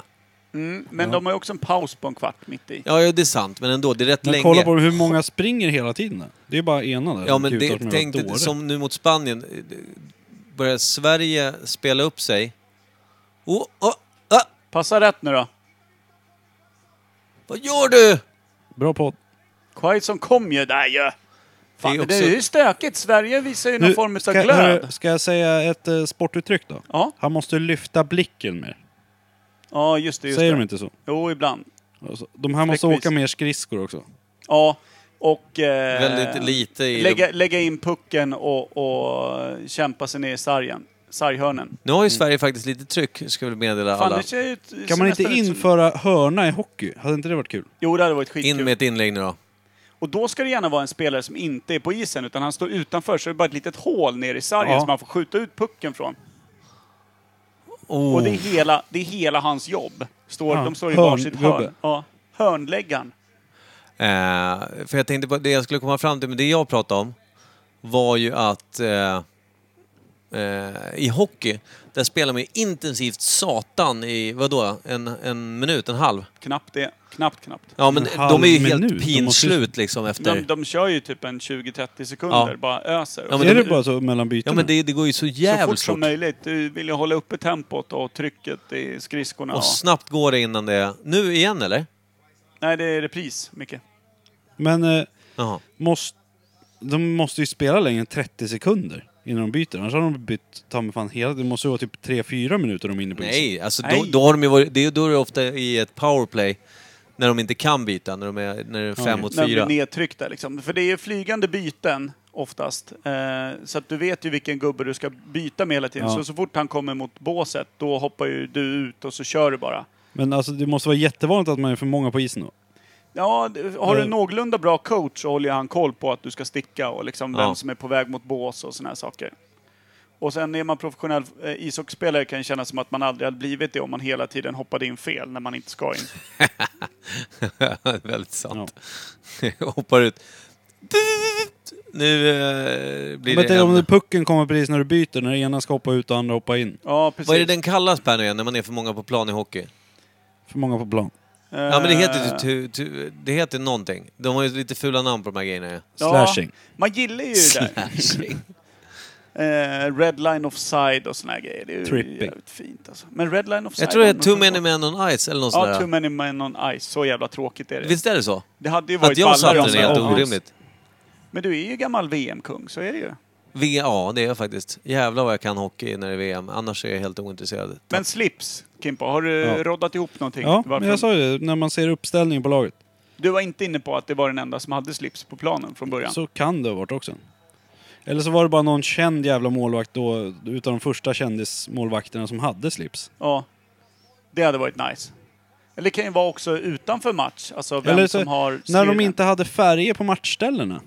S3: Mm, men de har ju också en paus på en kvart mitt i.
S1: Ja, ja, det är sant, men ändå, det är rätt
S2: Men
S1: länge.
S2: kolla på hur många springer hela tiden. där. Det är bara ena där
S1: Ja,
S2: som
S1: men
S2: kutar
S1: det,
S2: som en
S1: tänk
S2: jävla
S1: dig,
S2: dåre.
S1: som nu mot Spanien. eh, Börjar Sverige spela upp sig. Oh, oh, ah,
S3: Passa rätt nu då.
S1: vad gör du?
S2: Bra podd.
S3: Quaison kom ju där ju. Fan,
S1: Det
S3: det
S1: är
S3: är,
S1: också-
S3: ju stökigt. Sverige visar ju någon form
S2: ska,
S3: av glöd.
S2: hörru, ska jag säga ett eh, sportuttryck då?
S3: Ja,
S2: Han måste lyfta blicken mer.
S3: ja just det. Just
S2: Säger
S3: det.
S2: de inte så?
S3: Jo, ibland.
S2: Alltså, de här måste
S3: Fläckvis.
S2: åka mer skridskor också.
S3: Ja, och... Eh,
S1: Väldigt lite i...
S3: Lägga, lägga in pucken och, och kämpa sig ner i sargen. Sarghörnen.
S1: Nu har ju Sverige faktiskt lite tryck, ska jag väl meddela
S3: Fan,
S1: alla.
S3: det ser ju ut,
S2: Kan
S3: ser
S2: man inte
S3: nästan ut som-
S2: införa hörna i hockey? Hade inte det varit kul?
S3: Jo, det hade varit skitkul.
S1: In med ett inlägg nu då.
S3: Och då ska det gärna vara en spelare som inte är på isen, utan han står utanför, så det är bara ett litet hål ner i sargen
S2: Ja.
S3: som han får skjuta ut pucken från.
S1: Oh.
S3: Och det är hela, det är hela hans jobb. Står,
S2: Ja,
S3: De står i varsitt
S2: hörngubbe.
S3: hörn. Ja, hörnläggaren.
S1: Eh, för jag tänkte på det jag skulle komma fram till, men det jag pratade om var ju att eh, eh, i hockey, där spelar man ju intensivt satan i, vadå, en, en minut, en halv?
S3: Knappt det. Knappt, knappt.
S1: Ja, men
S2: En halv
S1: de är ju
S2: minut. De
S1: helt
S2: måste ju-
S1: pinslut liksom efter...
S3: De, de kör ju typ en 20-30 sekunder,
S1: Ja.
S3: bara öser.
S1: Ja, men
S2: är
S1: de-
S2: det bara så mellan bytena?
S1: Ja, men det, det går ju så
S3: så fort
S1: jävligt fort.
S3: som möjligt. Du vill ju hålla uppe tempot och trycket i skridskorna.
S1: Och
S3: Och
S1: snabbt går det innan det... Nu igen, eller?
S3: Nej, det är repris, Micke.
S2: Men eh,
S1: Jaha.
S2: måste... de måste ju spela längre än 30 sekunder innan de byter. Annars har de bytt ta mig fan hela... Det måste ju vara typ 3-4 minuter de är inne på isen.
S1: Nej, alltså då,
S3: Nej.
S1: då har de ju varit, det är, då är det ofta i ett powerplay när de inte kan byta, när, de är, när det är fem
S2: Okej.
S1: mot
S3: När de blir
S1: fyra.
S3: nedtryckta liksom. För det är ju flygande byten oftast. Eh, så att du vet ju vilken gubbe du ska byta med hela tiden.
S2: Ja.
S3: Så, så fort han kommer mot båset, då hoppar ju du ut och så kör du bara.
S2: Men alltså det måste vara jättevanligt att man är för många på isen då.
S3: Ja, det- har du
S2: Eh.
S3: en någorlunda bra coach så håller ju han koll på att du ska sticka och liksom
S1: Ja.
S3: vem som är på väg mot bås och sådana här saker. Och sen är man professionell eh, ishockeyspelare kan det kännas som att man aldrig hade blivit det om man hela tiden hoppade in fel när man inte ska in.
S1: Väldigt sant. Hoppar ut. Nu eh, blir
S2: Men
S1: det,
S2: det är om
S1: en...
S2: det pucken kommer precis när du byter, när ena ska hoppa ut och andra hoppa in.
S3: Ja, precis.
S1: Vad är det den kallas Per nu igen, när man är för många på plan i hockey?
S2: För många på plan.
S1: Ja men det
S3: Eh,
S1: heter, typ tu, tu, det heter någonting. De har ju lite fula namn på de här grejerna.
S2: Slashing.
S3: Man gillar ju det där.
S1: Slashing.
S3: Eh, red line offside och såna här grejer. Det är ju
S2: Tripping.
S3: jävligt fint alltså. Men red line offside...
S1: Jag tror det är
S3: om-
S1: Too Many Men on Ice eller något sånt
S3: Ja,
S1: där.
S3: too many men on ice. Så jävla tråkigt är det.
S1: Visst är det så?
S3: det hade ju
S1: Att
S3: varit
S1: jag satte
S3: ballare
S1: den
S3: om
S1: är
S3: det
S1: helt
S3: hade varit-
S1: orimligt.
S3: Men du är ju gammal VM-kung, så är det ju.
S1: V- Ja, det är jag faktiskt. Jävlar vad jag kan hockey när det är VM. Annars är jag helt ointresserad.
S3: Men slips, Kimpa. Har du
S2: Ja.
S3: roddat ihop någonting?
S2: Ja,
S3: Varför-
S2: men jag sa ju det, när man ser uppställningen på laget.
S3: Du var inte inne på att det var den enda som hade slips på planen från
S1: Typ,
S3: början?
S2: Så kan det ha varit också. Eller så var det bara någon känd jävla målvakt då, utav de första kändismålvakterna som hade slips.
S3: Ja. Det hade varit nice. Eller det kan ju vara också utanför match, alltså vem
S2: Eller så,
S3: som har
S2: när de
S3: stirren.
S2: inte hade färger på matchställena.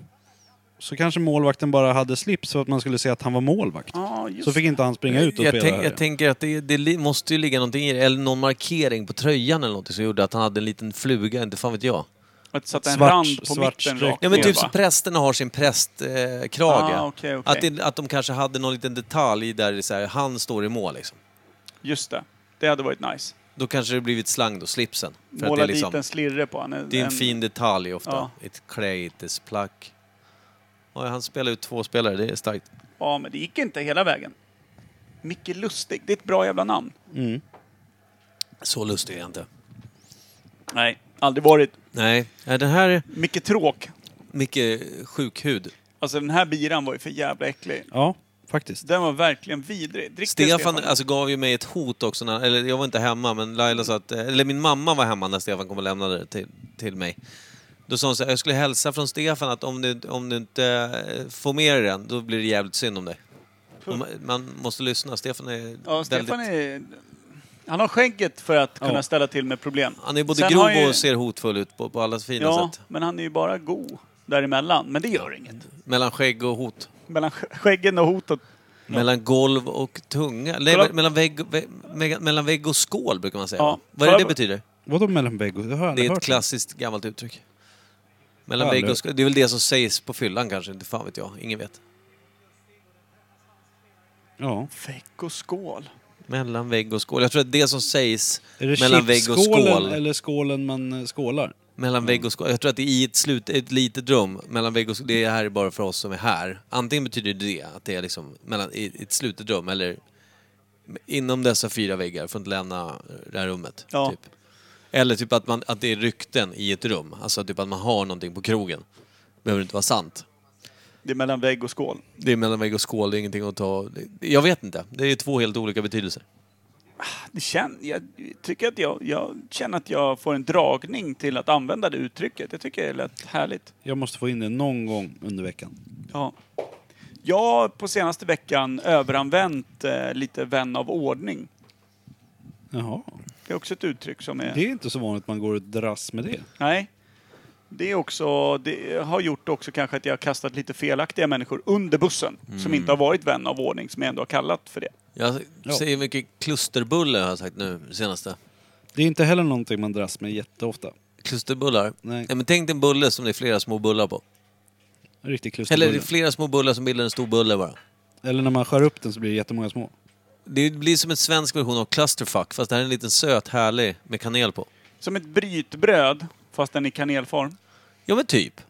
S2: Så kanske målvakten bara hade slips för att man skulle se att han var målvakt.
S3: Ja, just
S2: så fick inte han springa ut och
S1: Jag,
S2: spela
S1: tänk,
S2: här.
S1: jag tänker att det, det li- måste ju ligga någonting i det. Eller någon markering på tröjan eller någonting som gjorde att han hade en liten fluga, inte fan vet jag.
S3: Att sätta en
S2: Svart-
S3: rand på
S2: svart
S3: mitten
S2: streck.
S3: rakt
S1: Ja men
S3: ner,
S1: typ
S3: va?
S1: som prästerna har sin prästkrage. Eh, krage.
S3: Ah, okej, okej.
S1: att, det- att de kanske hade någon liten detalj där det är så här, han står i mål liksom.
S3: Just det. Det hade varit nice.
S1: Då kanske det blivit slang då, slipsen. För att det
S3: Måla
S1: är liksom...
S3: dit en slirre på han.
S1: Det är en fin detalj ofta.
S3: Ja.
S1: Ett klejtes plack. Oj, han spelar ut två spelare, det är starkt.
S3: Ja, men det gick inte hela vägen. Micke Lustig, det är ett bra jävla namn.
S2: Mm.
S1: Så lustig är jag inte.
S3: Nej, aldrig varit.
S1: Nej, Nej, den här är
S3: Micke Tråk.
S1: mycket sjukhud.
S3: Alltså den här biran var ju för jävla äcklig.
S2: Ja, faktiskt.
S3: Den var verkligen vidrig. Drick det,
S1: Stefan, alltså, gav ju mig ett hot också, när, eller jag var inte hemma, men Laila sa att, eller min mamma var hemma när Stefan kom och lämnade det till, till mig. Då sa hon så här, jag skulle hälsa från Stefan att om du, om du inte eh, får med dig den, då blir det jävligt synd om dig. Man- Man måste lyssna, Stefan är
S3: Ja, Stefan är... Han har skägget för att kunna
S2: Ja.
S3: ställa till med problem.
S1: Han är alltså. både
S3: Sen
S1: grov
S3: har ju-
S1: och ser hotfull ut på, på alla fina
S3: Ja,
S1: sätt.
S3: men han är ju bara god däremellan. Men det gör
S1: Mm.
S3: inget.
S1: Mellan skägg och hot.
S3: Mellan sk- skäggen och hotet.
S1: Mellan golv och tunga. Nej,
S3: Kolla.
S1: mellan, vägg, vägg, me- mellan vägg och skål brukar man säga.
S3: Ja.
S1: va? Vad är det det
S3: Kolla.
S1: betyder?
S2: Vadå mellan vägg och... Det har jag
S1: Det
S2: aldrig
S1: är ett
S2: hört.
S1: klassiskt gammalt uttryck. Mellan
S2: Ja,
S1: vägg
S2: eller-
S1: och skål. Det är väl det som sägs på fyllan kanske, inte fan vet jag. Ingen vet.
S2: Ja.
S3: Fäck och skål.
S1: Mellan vägg och skål. Jag tror att det som sägs
S2: Är det
S1: mellan vägg och
S2: chipsskålen
S1: skål.
S2: eller skålen man eh, skålar?
S1: Mellan vägg och skål. Jag tror att det är i ett, slut, ett litet rum, mellan vägg och skål. Det här är bara för oss som är här. Antingen betyder det att det är liksom mellan, i i ett slutet rum eller inom dessa fyra väggar, får inte lämna eh, det här rummet.
S3: Ja.
S1: Typ. Eller typ att, man, att det är rykten i ett rum. Alltså typ att man har någonting på krogen. Behöver inte vara sant.
S3: Det är mellan vägg och skål.
S1: Det är mellan vägg och skål, det är ingenting att ta... det- Jag vet inte. Det är två helt olika betydelser.
S3: Det kän, jag tycker att jag, jag känner att jag får en dragning till att använda det uttrycket. Jag tycker det lät härligt.
S2: Jag måste få in det någon gång under veckan.
S3: Ja. Jag har på senaste veckan överanvänt eh, lite vän av ordning.
S2: Jaha.
S3: Det är också ett uttryck som är...
S2: Det är inte så vanligt man går och dras med det.
S3: Nej. Det, är också, det har gjort också kanske att jag har kastat lite felaktiga människor under bussen. Som inte har varit vän av ordning, som jag ändå har kallat för det.
S1: Jag
S2: Ja.
S1: säger mycket klusterbulle har jag sagt nu senaste.
S2: Det är inte heller någonting man dras med jätteofta.
S1: Klusterbullar.
S2: Nej.
S1: men tänk dig en bulle som det är flera små bullar på.
S2: En Riktig klusterbulle.
S1: Eller det är
S2: Eller,
S1: flera små bullar som bildar en stor bulle bara.
S2: när man skär upp den så blir det jättemånga små.
S1: Det blir som en svensk version av clusterfuck, fast det här är en liten söt härlig med kanel på.
S3: Som ett brytbröd, fast den i kanelform.
S1: Ja men typ.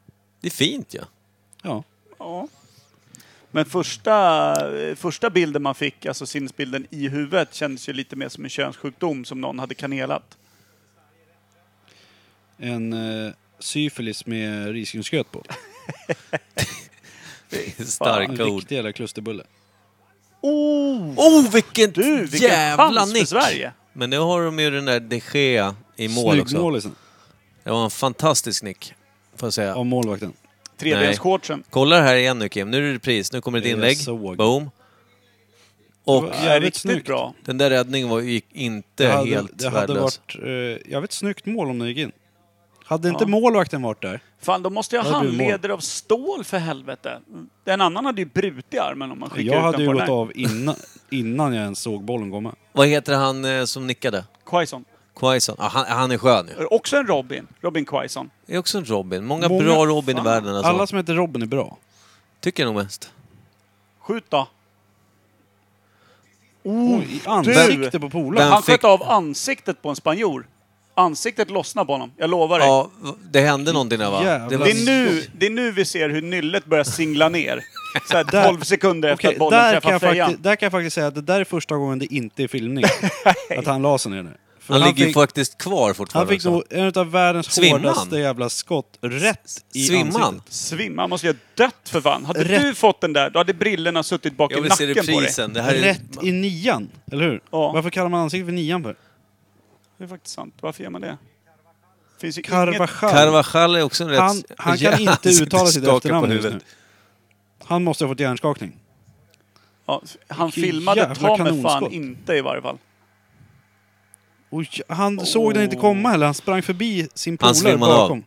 S1: Det är fint ja.
S2: Ja.
S3: Ja. Men första, eh, första bilden man fick, alltså sinnesbilden i huvudet, kändes ju lite mer som en könssjukdom som någon hade kanelat.
S2: En eh, syfilis med risgrynsgröt på.
S1: Det är starka
S2: En
S1: ord.
S2: riktig jävla klusterbulle.
S3: Oh!
S1: Oh, vilket
S3: Du, vilken
S1: jävla
S3: chans för
S1: nick!
S3: Sverige.
S1: Men nu har de ju den där de Gea i mål
S2: Snygg
S1: också.
S2: målisen.
S1: Det var en fantastisk nick, får jag säga.
S2: Av målvakten.
S3: Tredjedelscoachen.
S1: Kolla det här igen nu Kim, nu är det repris, nu kommer ett
S2: Det
S1: inlägg.
S2: såg.
S1: Boom. Och
S2: Det var-
S3: Ja,
S2: Jävligt
S3: riktigt
S2: snyggt.
S3: bra.
S1: den där räddningen var, gick inte
S2: Det hade,
S1: helt
S2: det hade
S1: värdelös.
S2: varit... Eh, jag vet, snyggt mål om den gick in. Hade inte
S3: Ja.
S2: målvakten varit där?
S3: Fan, de måste ju ha
S2: Vad är du, mål?
S3: handleder av stål för helvete. Den annan hade ju brutit armen om man skickade
S2: Jag
S3: ut
S2: hade
S3: den
S2: ju
S3: på
S2: gått
S3: den här.
S2: av innan, innan jag ens såg bollen komma.
S1: Vad heter han eh, som nickade?
S3: Quaison.
S1: Quaison. Ah, han, han är skön ju.
S3: Också en Robin. Robin Quaison.
S1: Det är också en Robin. Många,
S2: Många-
S1: bra Robin
S3: fan.
S1: i världen alltså.
S2: Alla som heter Robin är bra.
S1: Tycker jag nog mest.
S3: Skjut då.
S2: Oh, I ansikte på polaren.
S1: Vem
S3: Han sköt
S1: fick-
S3: av ansiktet på en spanjor. Ansiktet lossnade på honom. Jag lovar dig.
S1: Ja, v- det hände någonting där va?
S2: Jävlar.
S1: Det var...
S3: Det är, nu, det är nu vi ser hur nyllet börjar singla ner. Så här
S2: Där-
S3: 12 sekunder efter
S2: Okej,
S3: att bollen
S2: där, kan
S3: träffar
S2: jag
S3: fejan.
S2: faktiskt, där kan jag faktiskt säga att det där är första gången det inte är filmning. att han la sig ner nu. För
S1: Han ligger ju
S2: fick,
S1: faktiskt kvar fortfarande.
S2: han fick
S1: också.
S2: nog en av världens
S1: Svimman.
S2: hårdaste jävla skott rätt i
S1: Svimman.
S2: ansiktet.
S3: Svimma, han måste ju ha dött för fan. Hade
S2: Rätt.
S3: du fått den där, då hade brillorna suttit bak i
S1: Jag vill se
S3: nacken på dig.
S1: reprisen. Det här är...
S2: Rätt i nian, eller hur?
S3: Ja.
S2: Varför kallar man ansiktet för nian för?
S3: Det är faktiskt sant. Varför gör man det? Finns ju inget...
S2: Carvajal.
S1: Carvajal är också en rätt...
S2: Han, han kan
S1: Han
S2: inte
S1: sitter
S2: uttala
S1: och
S2: sitt
S1: skakar
S2: efternamn
S1: på
S2: just nu.
S1: huvudet.
S2: Han måste ha fått hjärnskakning.
S3: Ja, han
S2: Vilken
S3: filmade
S2: jävla
S3: ta mig fan
S2: kanonskott.
S3: inte i varje fall.
S2: Oj, han såg den inte komma heller. Han sprang förbi sin
S1: Han
S2: polare
S1: svimmade av.
S2: bakom.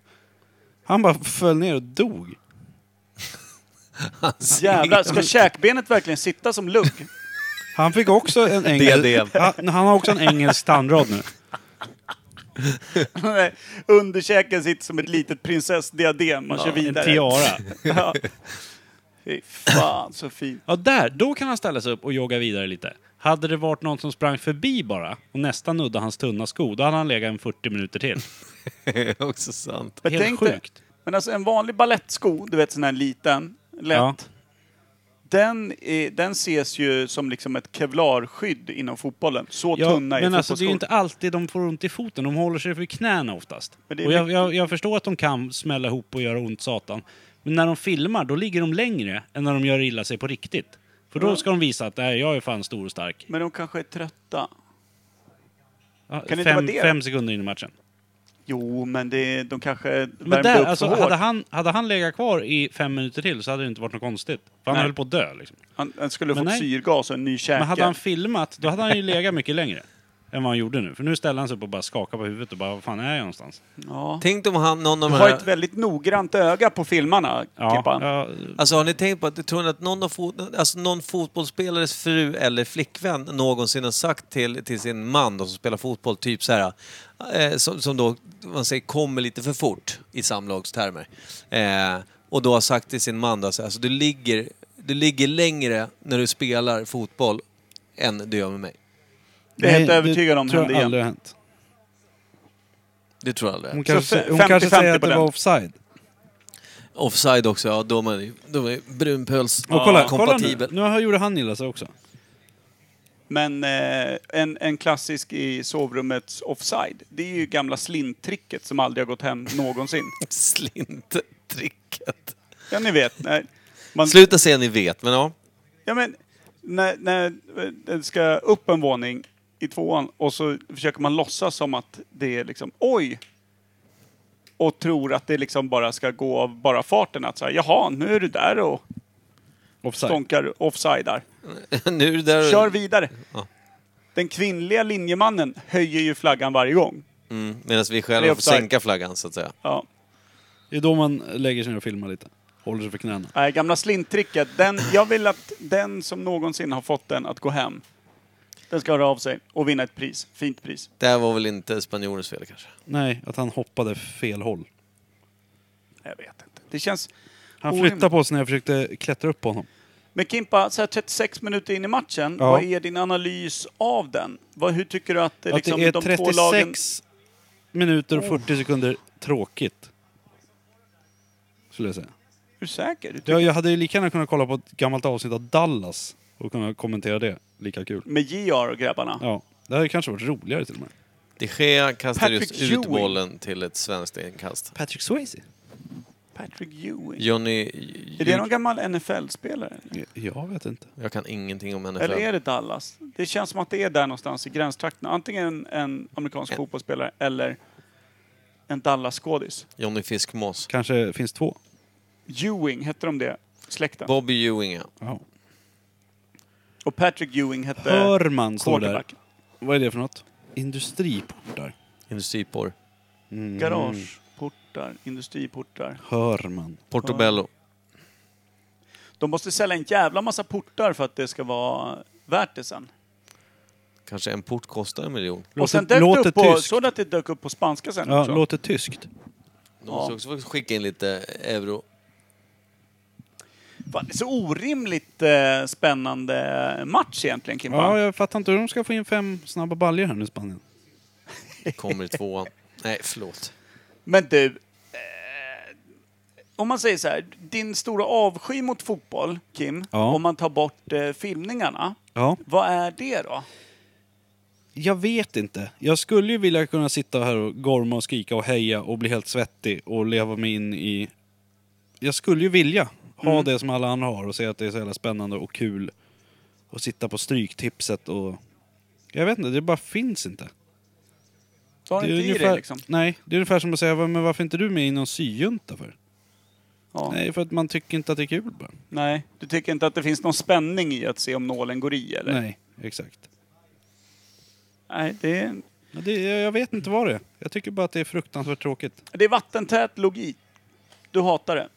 S2: Han bara föll ner och dog.
S3: Jävlar, ska käkbenet verkligen sitta som lugg?
S2: Han fick också en
S1: DDM.
S2: engelsk... han, han har också en engelsk tandrad nu.
S3: Nej, Underkäken sitter som ett litet prinsessdiadem. Man kör
S2: En
S3: vidare.
S2: tiara.
S3: Ja. Fy fan så fint.
S2: Ja, där. Då kan han ställa sig upp och jogga vidare lite. Hade det varit någon som sprang förbi bara och nästan nuddade hans tunna sko, då hade han legat en 40 minuter till.
S1: Det är också sant.
S3: Men
S2: Helt
S3: tänk dig,
S2: sjukt.
S3: Men alltså en vanlig ballettsko, du vet sån här liten, lätt.
S2: Ja.
S3: Den, är, den ses ju som liksom ett kevlarskydd inom fotbollen. Så
S2: Ja,
S3: tunna är
S2: men alltså det är
S3: fotbollsskor.
S2: ju inte alltid de får ont i foten, de håller sig för knäna oftast.
S3: Men det är
S2: Och jag,
S3: mycket-
S2: jag, jag förstår att de kan smälla ihop och göra ont satan. Men när de filmar, då ligger de längre än när de gör illa sig på riktigt. För då
S3: Ja.
S2: ska de visa att nej, jag är fan stor och stark.
S3: Men de kanske är trötta.
S2: Ja,
S3: det inte vara
S2: fem,
S3: det?
S2: fem sekunder in i matchen.
S3: Jo, men det, de kanske
S2: Men
S3: värmde
S2: där,
S3: upp
S2: alltså,
S3: för
S2: hade,
S3: hårt.
S2: han, hade han legat kvar i fem minuter till så hade det inte varit något konstigt. För han
S3: Nej.
S2: höll på att dö. Liksom.
S3: Han, han skulle ha
S2: Men
S3: fått
S2: nej.
S3: syrgas och en ny käke.
S2: Men hade han filmat, då hade han ju legat mycket längre. Än vad han gjorde nu. För nu ställer han sig upp och bara skakar på huvudet och bara, vad fan är jag någonstans?
S3: ja.
S1: Tänk om han, någon av
S3: Du
S1: de
S3: har
S1: här...
S3: ett väldigt noggrant öga på filmarna, Kippan.
S2: ja,
S1: Alltså har ni tänkt på att, tror ni att någon, av fot, alltså, någon fotbollsspelares fru eller flickvän någonsin har sagt till, till sin man då, som spelar fotboll, typ så här, eh, som, som då, man säger kommer lite för fort i samlagstermer. Eh, och då har sagt till sin man då, så här, alltså, du, ligger, du ligger längre när du spelar fotboll än du gör med mig.
S3: Det är jag helt övertygad om
S2: tror
S3: hände
S2: jag
S3: igen.
S2: aldrig har hänt.
S1: Det tror jag aldrig.
S2: Hon kanske,
S3: fe-
S2: hon kanske
S3: 50-50
S2: säger att
S3: på
S2: det
S3: den.
S2: var offside.
S1: Offside också, ja då är man ju- då är man ju brunpöls
S2: Och kolla, kolla nu.
S1: kompatibel.
S2: Nu har- gjorde han illa sig också.
S3: Men eh, en, en klassisk i sovrummets offside, det är ju gamla slinttricket som aldrig har gått hem någonsin.
S1: Slinttricket.
S3: Ja, ni vet. När man,
S1: Sluta säga ni vet, men ja.
S3: ja, men, när, när eh, det ska upp en våning i tvåan och så försöker man låtsas som att det är liksom oj! Och tror att det liksom bara ska gå av bara farten. Att säga jaha, nu är du där och
S2: Offside.
S3: stånkar offsidar.
S1: nu är det där...
S3: Kör vidare!
S1: Ja.
S3: Den kvinnliga linjemannen höjer ju flaggan varje gång.
S1: Mm, Medan vi
S3: Det är
S1: själva får
S3: offside.
S1: sänka flaggan så att säga.
S3: Ja.
S2: Det är då man lägger sig ner och filmar lite. Håller sig för knäna.
S3: Nej, gamla slinttricket. Den, jag vill att den som någonsin har fått den att gå hem, den ska höra av sig och vinna ett pris. Fint pris.
S1: Det här var väl inte spanjorens fel kanske?
S2: Nej, att han hoppade fel håll.
S3: Jag vet inte. Det känns...
S2: Han
S3: Orimligt.
S2: flyttade på sig när jag försökte klättra upp på honom.
S3: Men Kimpa, så här 36 minuter in i matchen,
S2: Ja.
S3: vad är din analys av den? Vad, hur tycker du att, eh, liksom,
S2: att det
S3: de
S2: är
S3: två lagen...
S2: 36 minuter och 40 sekunder tråkigt. Skulle jag säga.
S3: Hur säker? Du tycker...
S2: Jag, jag hade ju lika gärna kunnat kolla på ett gammalt avsnitt av Dallas och kunna kommentera det. Lika kul.
S3: Med JR och grabbarna?
S2: Ja, det hade kanske varit roligare till och med.
S1: De Gea kastar
S3: Patrick
S1: just ut
S3: Ewing.
S1: bollen till ett svenskt inkast.
S2: Patrick Swayze?
S3: Patrick Ewing.
S1: Johnny...
S3: Är det någon gammal NFL-spelare?
S2: Jag vet inte.
S1: Jag kan ingenting om NFL.
S3: Eller är det Dallas? Det känns som att det är där någonstans i gränstrakten. Antingen en, en amerikansk fotbollsspelare eller en Dallas-skådis.
S1: Johnny Fiskmås.
S2: Kanske finns två.
S3: Ewing, hette de det? Släkten.
S1: Bobby Ewing, ja.
S2: Ja.
S3: Och Patrick Ewing hette
S2: Hörman står där.
S3: quarterback.
S2: Vad är det för något? Industriportar.
S1: Industriporr.
S2: Mm.
S3: Garageportar, industriportar.
S2: Hörman.
S1: Portobello.
S3: De måste sälja en jävla massa portar för att det ska vara värt det sen.
S1: Kanske en port kostar en miljon.
S2: Låter-
S3: och sen dök det
S2: låter
S3: upp på,
S2: tyskt.
S3: såg du att det dök upp på spanska sen
S2: Ja,
S3: också?
S2: låter tyskt.
S1: De måste också få skicka in lite euro.
S3: Fan, det är så orimligt eh, spännande match egentligen, Kimpa.
S2: Ja, jag fattar inte hur de ska få in fem snabba baljor här nu i Spanien.
S1: Kommer i tvåan. Nej, förlåt.
S3: Men du, eh, om man säger så här, din stora avsky mot fotboll, Kim,
S2: Ja.
S3: om man tar bort eh, filmningarna,
S2: Ja.
S3: vad är det då?
S2: Jag vet inte. Jag skulle ju vilja kunna sitta här och gorma och skrika och heja och bli helt svettig och leva mig in i... Jag skulle ju vilja ha
S3: Mm.
S2: det som alla andra har och säga att det är så jävla spännande och kul. Och sitta på stryktipset och... Jag vet inte, det bara finns inte.
S3: Du har
S2: Det är
S3: inte i
S2: ungefär-
S3: dig liksom?
S2: Nej, det är ungefär som att säga "Va, men varför inte du med i någon syjunta för?
S3: Ja. Nej.
S2: Nej, för att man tycker inte att det är kul bara.
S3: Du tycker inte att det finns någon spänning i att se om nålen går i, eller?
S2: Nej, exakt.
S3: Nej, det är,
S2: Ja, det, jag vet inte vad det är. Jag tycker bara att det är fruktansvärt tråkigt.
S3: det är vattentät logik. Du hatar det.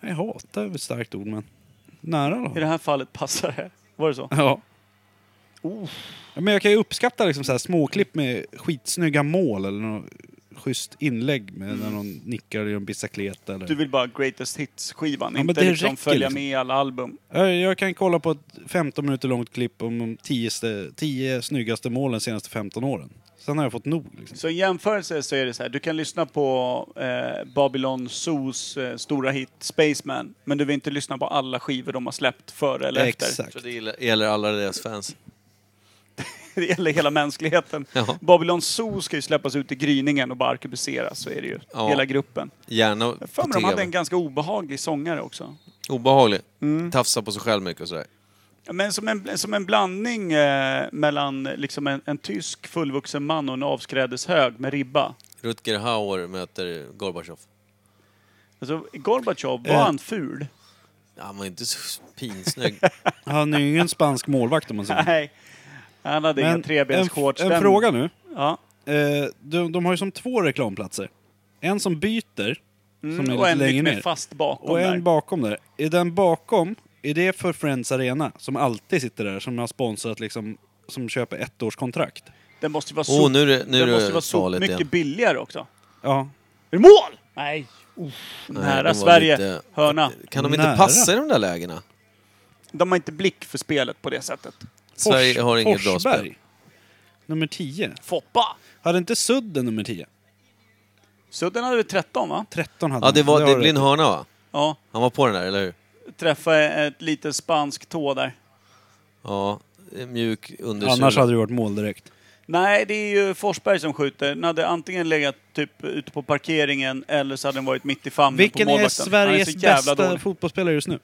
S2: Nej, hatar är väl ett starkt ord, men... Nära då.
S3: I det här fallet passar det. Var det så?
S2: Ja.
S3: Oh.
S2: Ja, Men jag kan ju uppskatta liksom så här småklipp med skitsnygga mål eller något schysst inlägg med när någon nickar eller gör en bicicleta eller...
S3: Du vill bara greatest hits-skivan,
S2: Ja, men
S3: inte
S2: det
S3: liksom
S2: räcker
S3: följa
S2: liksom.
S3: med i alla album.
S2: Ja, Jag kan kolla på ett 15 minuter långt klipp om de 10, st- 10 snyggaste målen de senaste 15 åren. Sen har jag fått nog. Liksom.
S3: Så i jämförelse så är det så här, du kan lyssna på eh, Babylon Zoos eh, stora hit Spaceman, men du vill inte lyssna på alla skivor de har släppt före eller efter.
S1: Jag
S2: Exakt.
S1: tror det gäller- gäller alla deras fans.
S3: Det gäller hela mänskligheten.
S1: Ja.
S3: Babylon Zoo ska ju släppas ut i gryningen och bara arkebuseras, så är det ju.
S1: Ja.
S3: Hela gruppen.
S1: Gärna
S3: Jag har
S1: på
S3: för mig de hade
S1: TV.
S3: en Mm. ganska obehaglig sångare också.
S1: Obehaglig. Tafsa på sig själv mycket och sådär.
S3: Ja, Men som en, som en blandning eh, mellan liksom en, en tysk fullvuxen man och en avskrädeshög med ribba.
S1: Rutger Hauer möter Gorbatjov.
S3: Alltså, Gorbatjov, var
S2: Eh.
S3: han ful?
S1: Ja, Han var inte så pinsnygg.
S2: Han är ju ingen spansk målvakt om man säger.
S3: Nej. Han hade inga
S2: en,
S3: trebensshorts.
S2: en
S3: Den-
S2: fråga nu.
S3: Ja.
S2: Eh, de, de har ju som två reklamplatser. En som byter, som är
S3: Mm,
S2: lite
S3: och en
S2: längre
S3: lite mer
S2: ner.
S3: fast bakom
S2: Och
S3: där.
S2: en bakom där. Är den bakom, är det för Friends Arena som alltid sitter där, som har sponsrat liksom, som köper ettårskontrakt?
S3: den måste ju vara
S1: Åh,
S3: så,
S1: oh, nu är det, nu är
S3: den måste ju
S1: det
S3: vara så
S1: farligt
S3: mycket
S1: igen.
S3: billigare också.
S2: Ja.
S3: Är det mål? Nej. Uff,
S1: Nej,
S3: nära
S1: den var
S3: Sverige.
S1: lite-
S3: Hörna.
S1: Kan de inte
S2: Nära.
S1: passa i de där lägena?
S3: De har inte blick för spelet på det sättet.
S1: Sverige har inget bra
S2: Forsberg.
S1: spel.
S2: Nummer 10.
S3: Foppa!
S2: Hade inte Sudden nummer 10?
S3: Sudden hade vi 13 va?
S2: 13 hade
S1: Ja, det,
S2: han.
S1: var, det
S2: har
S1: blir en
S2: du.
S1: hörna va?
S3: Ja.
S1: Han var på den där, eller hur?
S3: Träffa ett litet spanskt tå där.
S1: Ja, mjuk
S2: Annars hade
S1: undersula.
S2: det varit mål direkt.
S3: Nej, det är ju Forsberg som skjuter. Den hade antingen legat typ ute på parkeringen eller så hade den varit mitt i famnen
S2: Vilken
S3: på
S2: är
S3: målvakten. Han så
S2: Sveriges
S3: jävla
S2: bästa
S3: dålig.
S2: fotbollsspelare just nu?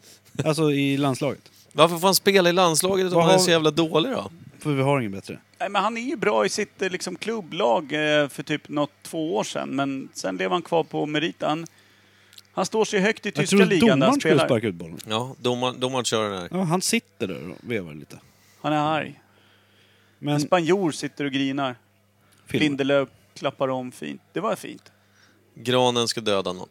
S2: Alltså i landslaget.
S1: Varför får han spela i landslaget om
S2: Vad
S1: han är
S2: har-
S1: så jävla dålig då?
S2: För vi har ingen bättre.
S3: Nej, men han är ju bra i sitt eh, liksom, klubblag eh, för typ något två år sedan, men sen lever han kvar på meriten. Han står sig högt i
S2: Jag
S3: tyska
S2: tror
S3: ligan där han
S2: domaren skulle
S3: spelar.
S2: sparka ut bollen.
S1: Ja, domaren domaren kör den här.
S2: Ja, han sitter där och vevar lite.
S3: Han är arg. En
S2: Men
S3: spanjor sitter och grinar.
S2: filma.
S3: Lindelöf klappar om fint. Det var fint.
S1: Granen ska döda någon.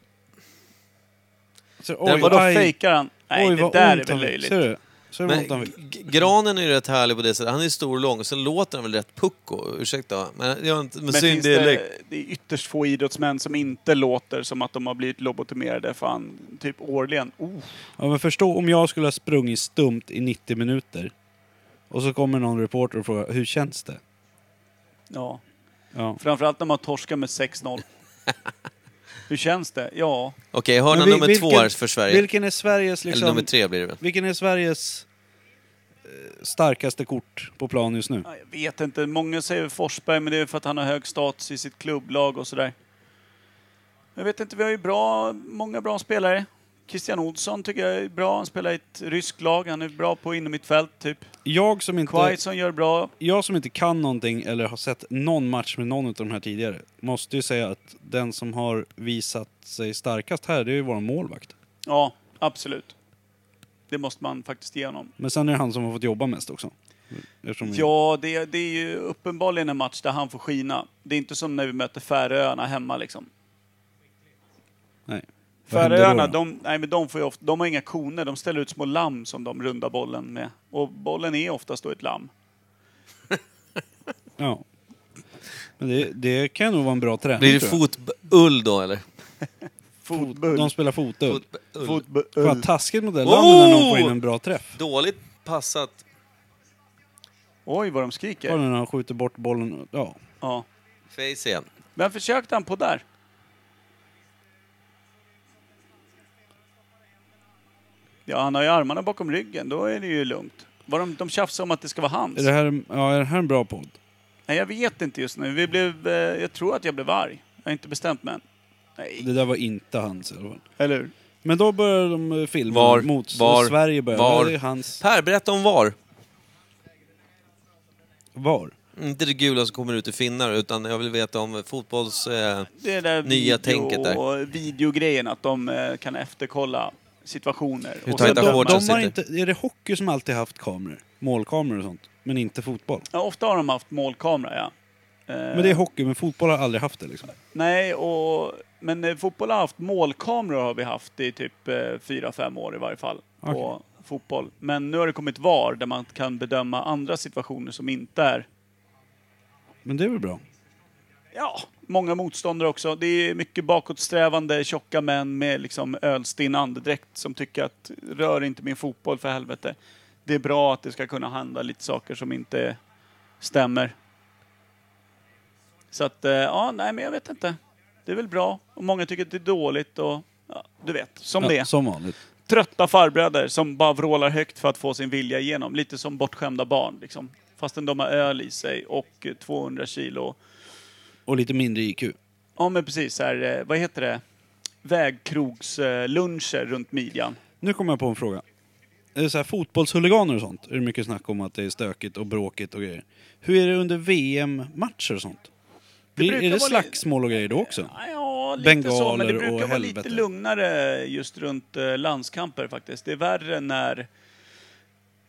S2: Så,
S1: Där
S2: oj,
S3: Vadå
S2: aj,
S3: fejkar han? Nej,
S2: oj,
S3: det
S2: vad
S3: där
S2: ont
S3: är
S2: han
S3: väl
S2: fick.
S3: löjligt.
S2: Ser du? Ser du vad
S1: Men
S2: ont han fick?
S1: G- granen är ju rätt härlig på det sättet. Han är ju stor och lång, sen låter han väl rätt pucko. Ursäkta, men jag har inte... Med
S3: Men
S1: sin
S3: finns det,
S1: dialekt.
S3: det är ytterst få idrottsmän som inte låter som att de har blivit lobotomerade fan typ årligen. Oh,
S2: Ja, men förstå om jag skulle ha sprungit stumt i 90 minuter och så kommer någon reporter och frågar hur känns det?
S3: ja.
S2: Ja.
S3: Framförallt när man torskar med 6-0. Hur känns det? Ja.
S1: Okej, hörna
S2: Men vi-
S1: nummer två
S2: vilken-
S1: är för Sverige.
S2: Vilken är Sveriges,
S1: Eller nummer
S2: liksom,
S1: tre blir det väl.
S2: vilken är Sveriges eh, starkaste kort på plan just nu?
S3: Ja, Jag vet inte. Många säger Forsberg, men det är för att han har hög status i sitt klubblag och sådär. Jag vet inte, vi har ju bra, många bra spelare. Christian Olsson tycker jag är bra. Han spelar i ett ryskt lag. Han är bra på inom mitt fält, typ.
S2: Jag som inte...
S3: Quaison gör bra.
S2: jag som inte kan någonting eller har sett någon match med någon av de här tidigare måste ju säga att den som har visat sig starkast här, det är ju vår målvakt.
S3: Ja, absolut. Det måste man faktiskt ge honom.
S2: Men sen är det han som har fått jobba mest också. Eftersom vi-
S3: Ja, det, det är ju uppenbarligen en match där han får skina. Det är inte som när vi möter Färöarna hemma liksom.
S2: Nej. Vad händer då
S3: Färöarna,
S2: då?
S3: de, nej, men de, får ju ofta, de har inga koner. De ställer ut små lamm som de rundar bollen med. Och bollen är oftast då ett lamm.
S2: Ja. Men det, det kan nog vara en bra träning
S1: Blir det
S2: tror jag.
S1: fotull då eller?
S2: De spelar fotull.
S1: Fotull.
S2: Fan taskigt mot det landet när någon
S1: Oh!
S2: får in en bra träff.
S1: Dåligt passat.
S3: Oj, vad de skriker.
S2: Bara när han skjuter bort bollen. Ja.
S3: Ja.
S1: Face igen.
S3: Vem försökte han på där? Ja, han har ju armarna bakom ryggen. Då är det ju lugnt. Var de, de tjafsade om att det ska vara hans.
S2: Är det här, ja, är det här en bra podd?
S3: Nej, jag vet inte just nu. Vi blev, eh, jag tror att jag blev arg. Jag har inte bestämt mig än. Nej,
S2: Det där var inte hans i alla fall.
S3: eller hur?
S2: Men då börjar de eh, filma
S1: Var?
S2: mot
S1: Var?
S2: Sverige börjar.
S1: Var?
S2: Det är hans
S1: Per, berätta om VAR.
S2: var.
S1: Inte det gula som kommer ut i finnar, utan jag vill veta om fotbolls... Eh,
S3: Det där
S1: Nya tänket där.
S3: videogrejen, att de eh, kan efterkolla situationer.
S1: Hur
S3: Och
S1: tajta
S3: sen-
S2: de,
S1: shorts
S2: de
S1: sitter.
S2: har inte, är det hockey som alltid haft kameror? Målkameror och sånt. Men inte fotboll.
S3: ja, ofta har de haft målkamera, ja. Eh,
S2: Men det är hockey, men fotboll har aldrig haft det liksom.
S3: Nej, och, men eh, fotboll har haft målkameror har vi haft i typ eh, 4-5 år i varje fall. På
S2: Okej.
S3: fotboll. Men nu har det kommit VAR där man kan bedöma andra situationer som inte är
S2: Men det är väl bra.
S3: ja, många motståndare också. Det är mycket bakåtsträvande tjocka män med liksom ölstinn andedräkt som tycker att rör inte min fotboll för helvete. Det är bra att det ska kunna handla lite saker som inte stämmer. Så att, eh, ja, nej men jag vet inte. Det är väl bra. Och många tycker att det är dåligt och, ja, du vet, som det
S2: Ja,
S3: är.
S2: som vanligt.
S3: Trötta farbröder som bara vrålar högt för att få sin vilja igenom. Lite som bortskämda barn liksom. Fastän de har öl i sig och eh, 200 kilo
S2: Och lite mindre IQ.
S3: Ja men precis, så här, eh, vad heter det? Vägkrogsluncher runt midjan.
S2: Nu kommer jag på en fråga. Är det så här, fotbollshuliganer och sånt är det mycket snack om att det är stökigt och bråkigt och grejer. Hur är det under VM-matcher och sånt? Blir,
S3: brukar
S2: är det
S3: vara
S2: slagsmål och grejer då också?
S3: Ja, Ah, Ja, lite så, men
S2: Bengaler
S3: det brukar
S2: och
S3: vara
S2: helvete.
S3: lite lugnare just runt eh, landskamper faktiskt. Det är värre när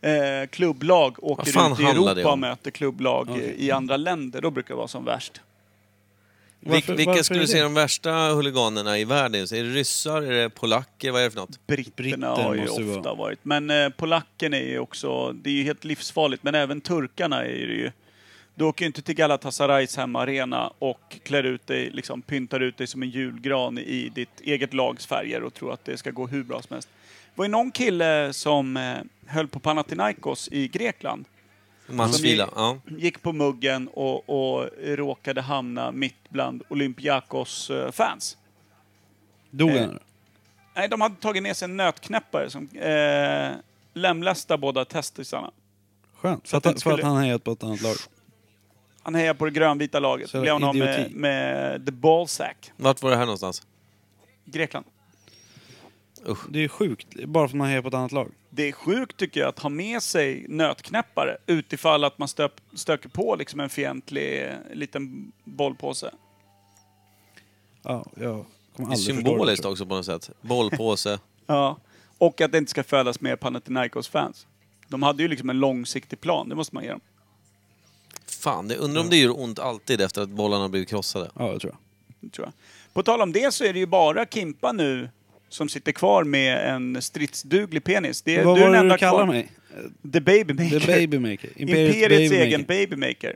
S3: eh, klubblag åker
S1: fan
S3: ut i
S1: handlar det
S3: Europa och
S1: om?
S3: möter klubblag eh,
S2: Okej.
S3: i andra länder. Då brukar det vara som värst.
S1: vil,
S2: Varför-
S1: vilka
S2: varför
S1: skulle
S2: är
S1: du
S2: det?
S1: se de värsta huliganerna i världen? Så Är det ryssar? Är det polacker? Vad är det för något?
S3: Britterna
S2: Britter
S3: har ju
S2: måste det
S3: ofta
S2: vara.
S3: varit. Men eh, polacken är ju också, det är ju helt livsfarligt. Men även turkarna är det ju. Du åker ju inte till Galatasarays hemmaarena och klär ut dig, liksom pyntar ut dig som en julgran i ditt eget lags färger och tror att det ska gå hur bra som helst. Det var ju någon kille som eh, höll på Panathinaikos i Grekland
S1: Matchvila?
S3: Som
S1: Ja.
S3: gick på muggen och, och råkade hamna mitt bland Olympiakos eh, fans.
S2: Dog
S3: Eh,
S2: han?
S3: Nej, de hade tagit ner sig en nötknäppare som eh, lemlästade båda testisarna.
S2: Skönt.
S3: så
S2: För
S3: att
S2: att,
S3: det
S2: han-
S3: inte
S2: för att
S3: skulle-
S2: han hejat på ett annat lag.
S3: Han hejar på det grönvita laget.
S2: Så
S3: Så blev honom med,
S2: idioti.
S3: med the ballsack.
S1: Vart var det här någonstans?
S3: Grekland.
S2: Det är sjukt, bara för att man hejar på ett annat lag.
S3: Det är sjukt tycker jag att ha med sig nötknäppare utifall att man stöp, stöker på liksom en fientlig eh, liten bollpåse.
S2: Ja, jag kommer
S1: Det är
S2: aldrig förstå det,
S1: symboliskt
S2: tror jag.
S1: också på något sätt. Bollpåse.
S3: Ja. Och att det inte ska födas mer Panathinaikos-fans. De hade ju liksom en långsiktig plan, det måste man ge dem.
S1: Fan, det, undrar om det gör ont alltid efter att bollarna har blivit krossade.
S2: Ja, det tror jag.
S3: Det tror jag. På tal om det så är det ju bara Kimpa nu som sitter kvar med en stridsduglig penis. Det är,
S2: Vad
S3: du är
S2: var
S3: den
S2: det
S3: enda
S2: du kallar
S3: kvar.
S2: mig?
S3: The Babymaker.
S2: The Babymaker. Imperiets,
S3: Imperiets,
S2: Imperiets baby
S3: egen
S2: maker.
S3: Babymaker.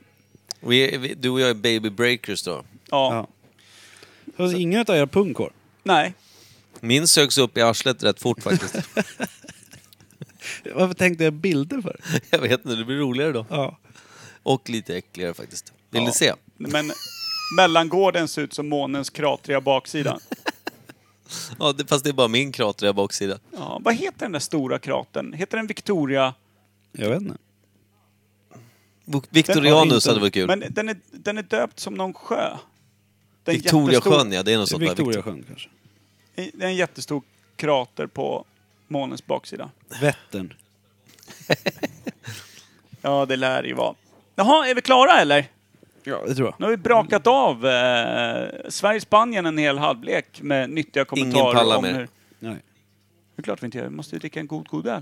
S1: Vi, vi, du och jag är baby breakers då.
S3: Ja.
S2: Ja. Så Alltså, ingen utav era pungkår?
S3: Nej.
S1: Min sögs upp i arslet rätt fort faktiskt.
S2: Varför tänkte jag bilder för?
S1: jag vet inte, det blir roligare då.
S2: Ja.
S1: Och lite äckligare faktiskt. Vill
S3: Ja.
S1: ni se?
S3: Men mellangården ser ut som månens kratriga baksida.
S1: Ja, det, fast det är bara min krater där baksida.
S3: Ja, vad heter den där stora kratern? Heter den Victoria?
S2: Jag vet inte.
S1: Bo-
S3: Den,
S1: Victorianus
S2: Ja, inte-
S1: hade varit kul.
S3: Men den är, den är döpt som någon sjö. Det är en
S1: Victoria
S3: jättestor-
S1: sjön, ja. Det är något sånt där.
S2: Victoria
S1: Victor-
S2: sjön kanske.
S3: Det är en jättestor krater på månens baksida.
S2: Vättern.
S3: Ja, det lär det ju vara. Jaha, är vi klara eller?
S2: Ja, det tror jag.
S3: Nu har vi brakat
S1: Mm.
S3: av eh, Sverige-Spanien en hel halvlek med nyttiga kommentarer.
S1: pallar
S3: om
S1: mer.
S3: Hur...
S2: Nej.
S3: Det är klart vi inte gör. Vi måste ju dricka en god, god öl.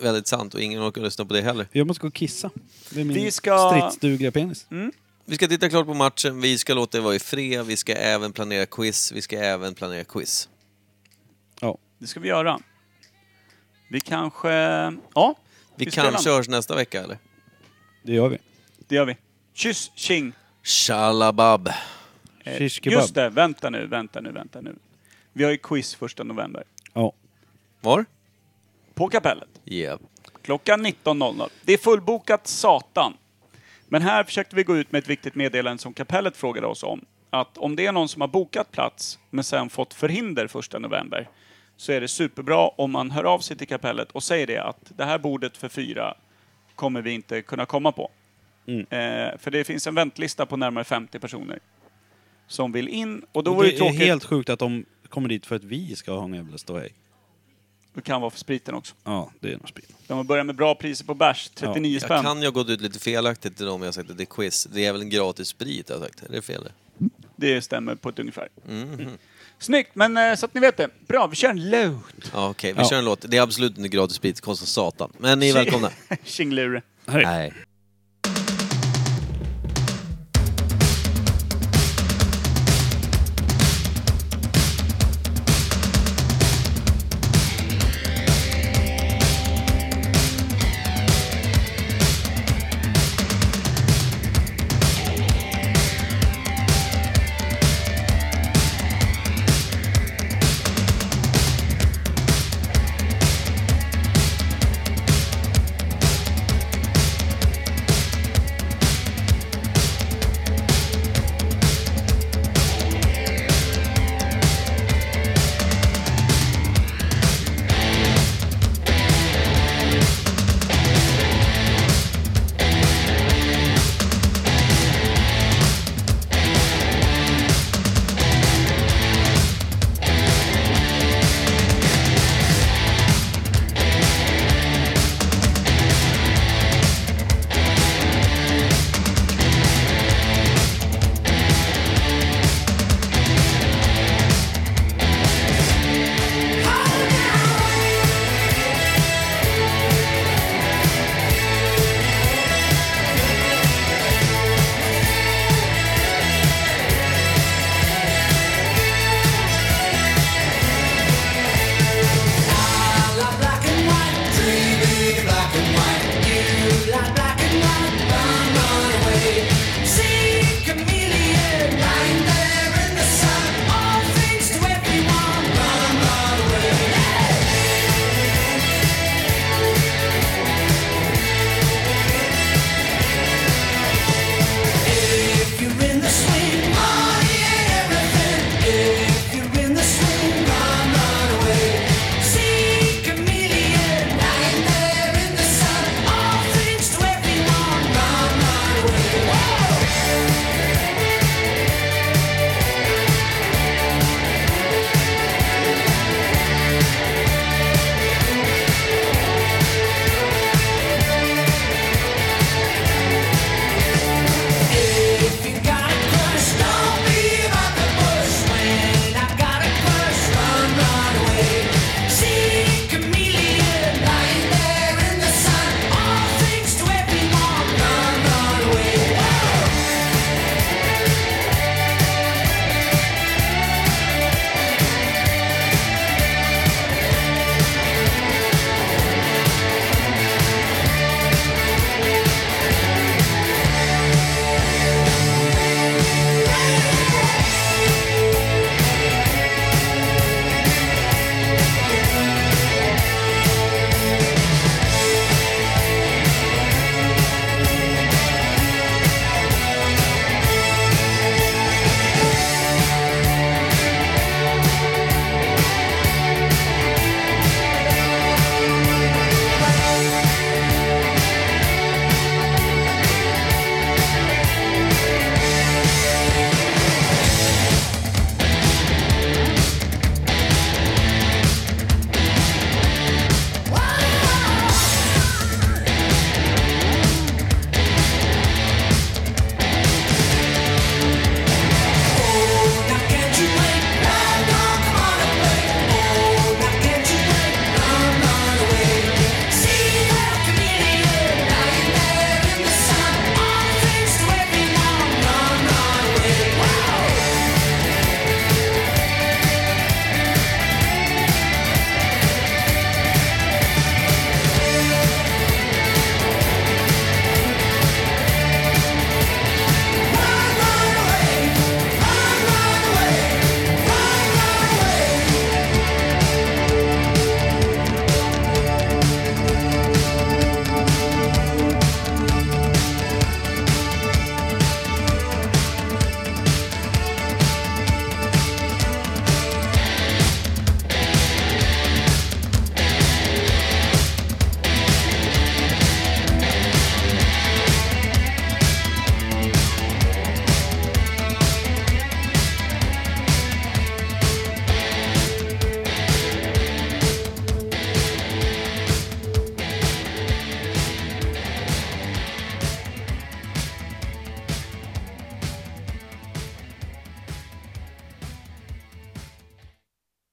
S1: Väldigt sant och ingen orkar lyssna på det heller.
S2: Jag måste gå och kissa. Det är min
S3: Vi ska- Mm.
S2: stridsdugliga penis.
S1: Vi ska titta klart på matchen, vi ska låta det vara i fred, vi ska även planera quiz, vi ska även planera quiz.
S2: Ja.
S3: Det ska vi göra. Vi kanske... Ja,
S1: Vi,
S3: spelar.
S1: kanske hörs nästa vecka eller?
S2: Det gör vi.
S3: Det gör vi. Kyss, tjing.
S1: Shalabab!
S3: Eh,
S2: Shish kebab.
S3: Just det, vänta nu, vänta nu, vänta nu. Vi har ju quiz första november.
S2: Ja.
S1: Var?
S3: På kapellet.
S1: Yeah.
S3: Klockan 19.00. Det är fullbokat satan. Men här försökte vi gå ut med ett viktigt meddelande som kapellet frågade oss om. Att om det är någon som har bokat plats men sen fått förhinder första november så är det superbra om man hör av sig till kapellet och säger det att det här bordet för fyra kommer vi inte kunna komma på.
S2: Mm.
S3: Eh, för det finns en väntlista på närmare 50 personer som vill in och då vore
S2: det
S3: det
S2: är
S3: tråkigt.
S2: helt sjukt att de kommer dit för att vi ska ha en jävla ståhej.
S3: Det kan vara för spriten också.
S2: Ja, det är nog spinn.
S3: De har börjat med bra priser på bärs, 39 spänn.
S1: Jag kan ju ha gått ut lite felaktigt till dem jag har sagt att det är quiz. Det är väl en gratis sprit jag har sagt, är det fel?
S3: Det stämmer på ett ungefär. Snyggt, men eh, så att ni vet det. Bra, vi kör en låt.
S1: Ja, Okej, vi
S2: Ja.
S1: kör en låt. Det är absolut inte gratis sprit, det kostar satan. Men ni är välkomna.
S3: Tjinglure.
S1: Nej.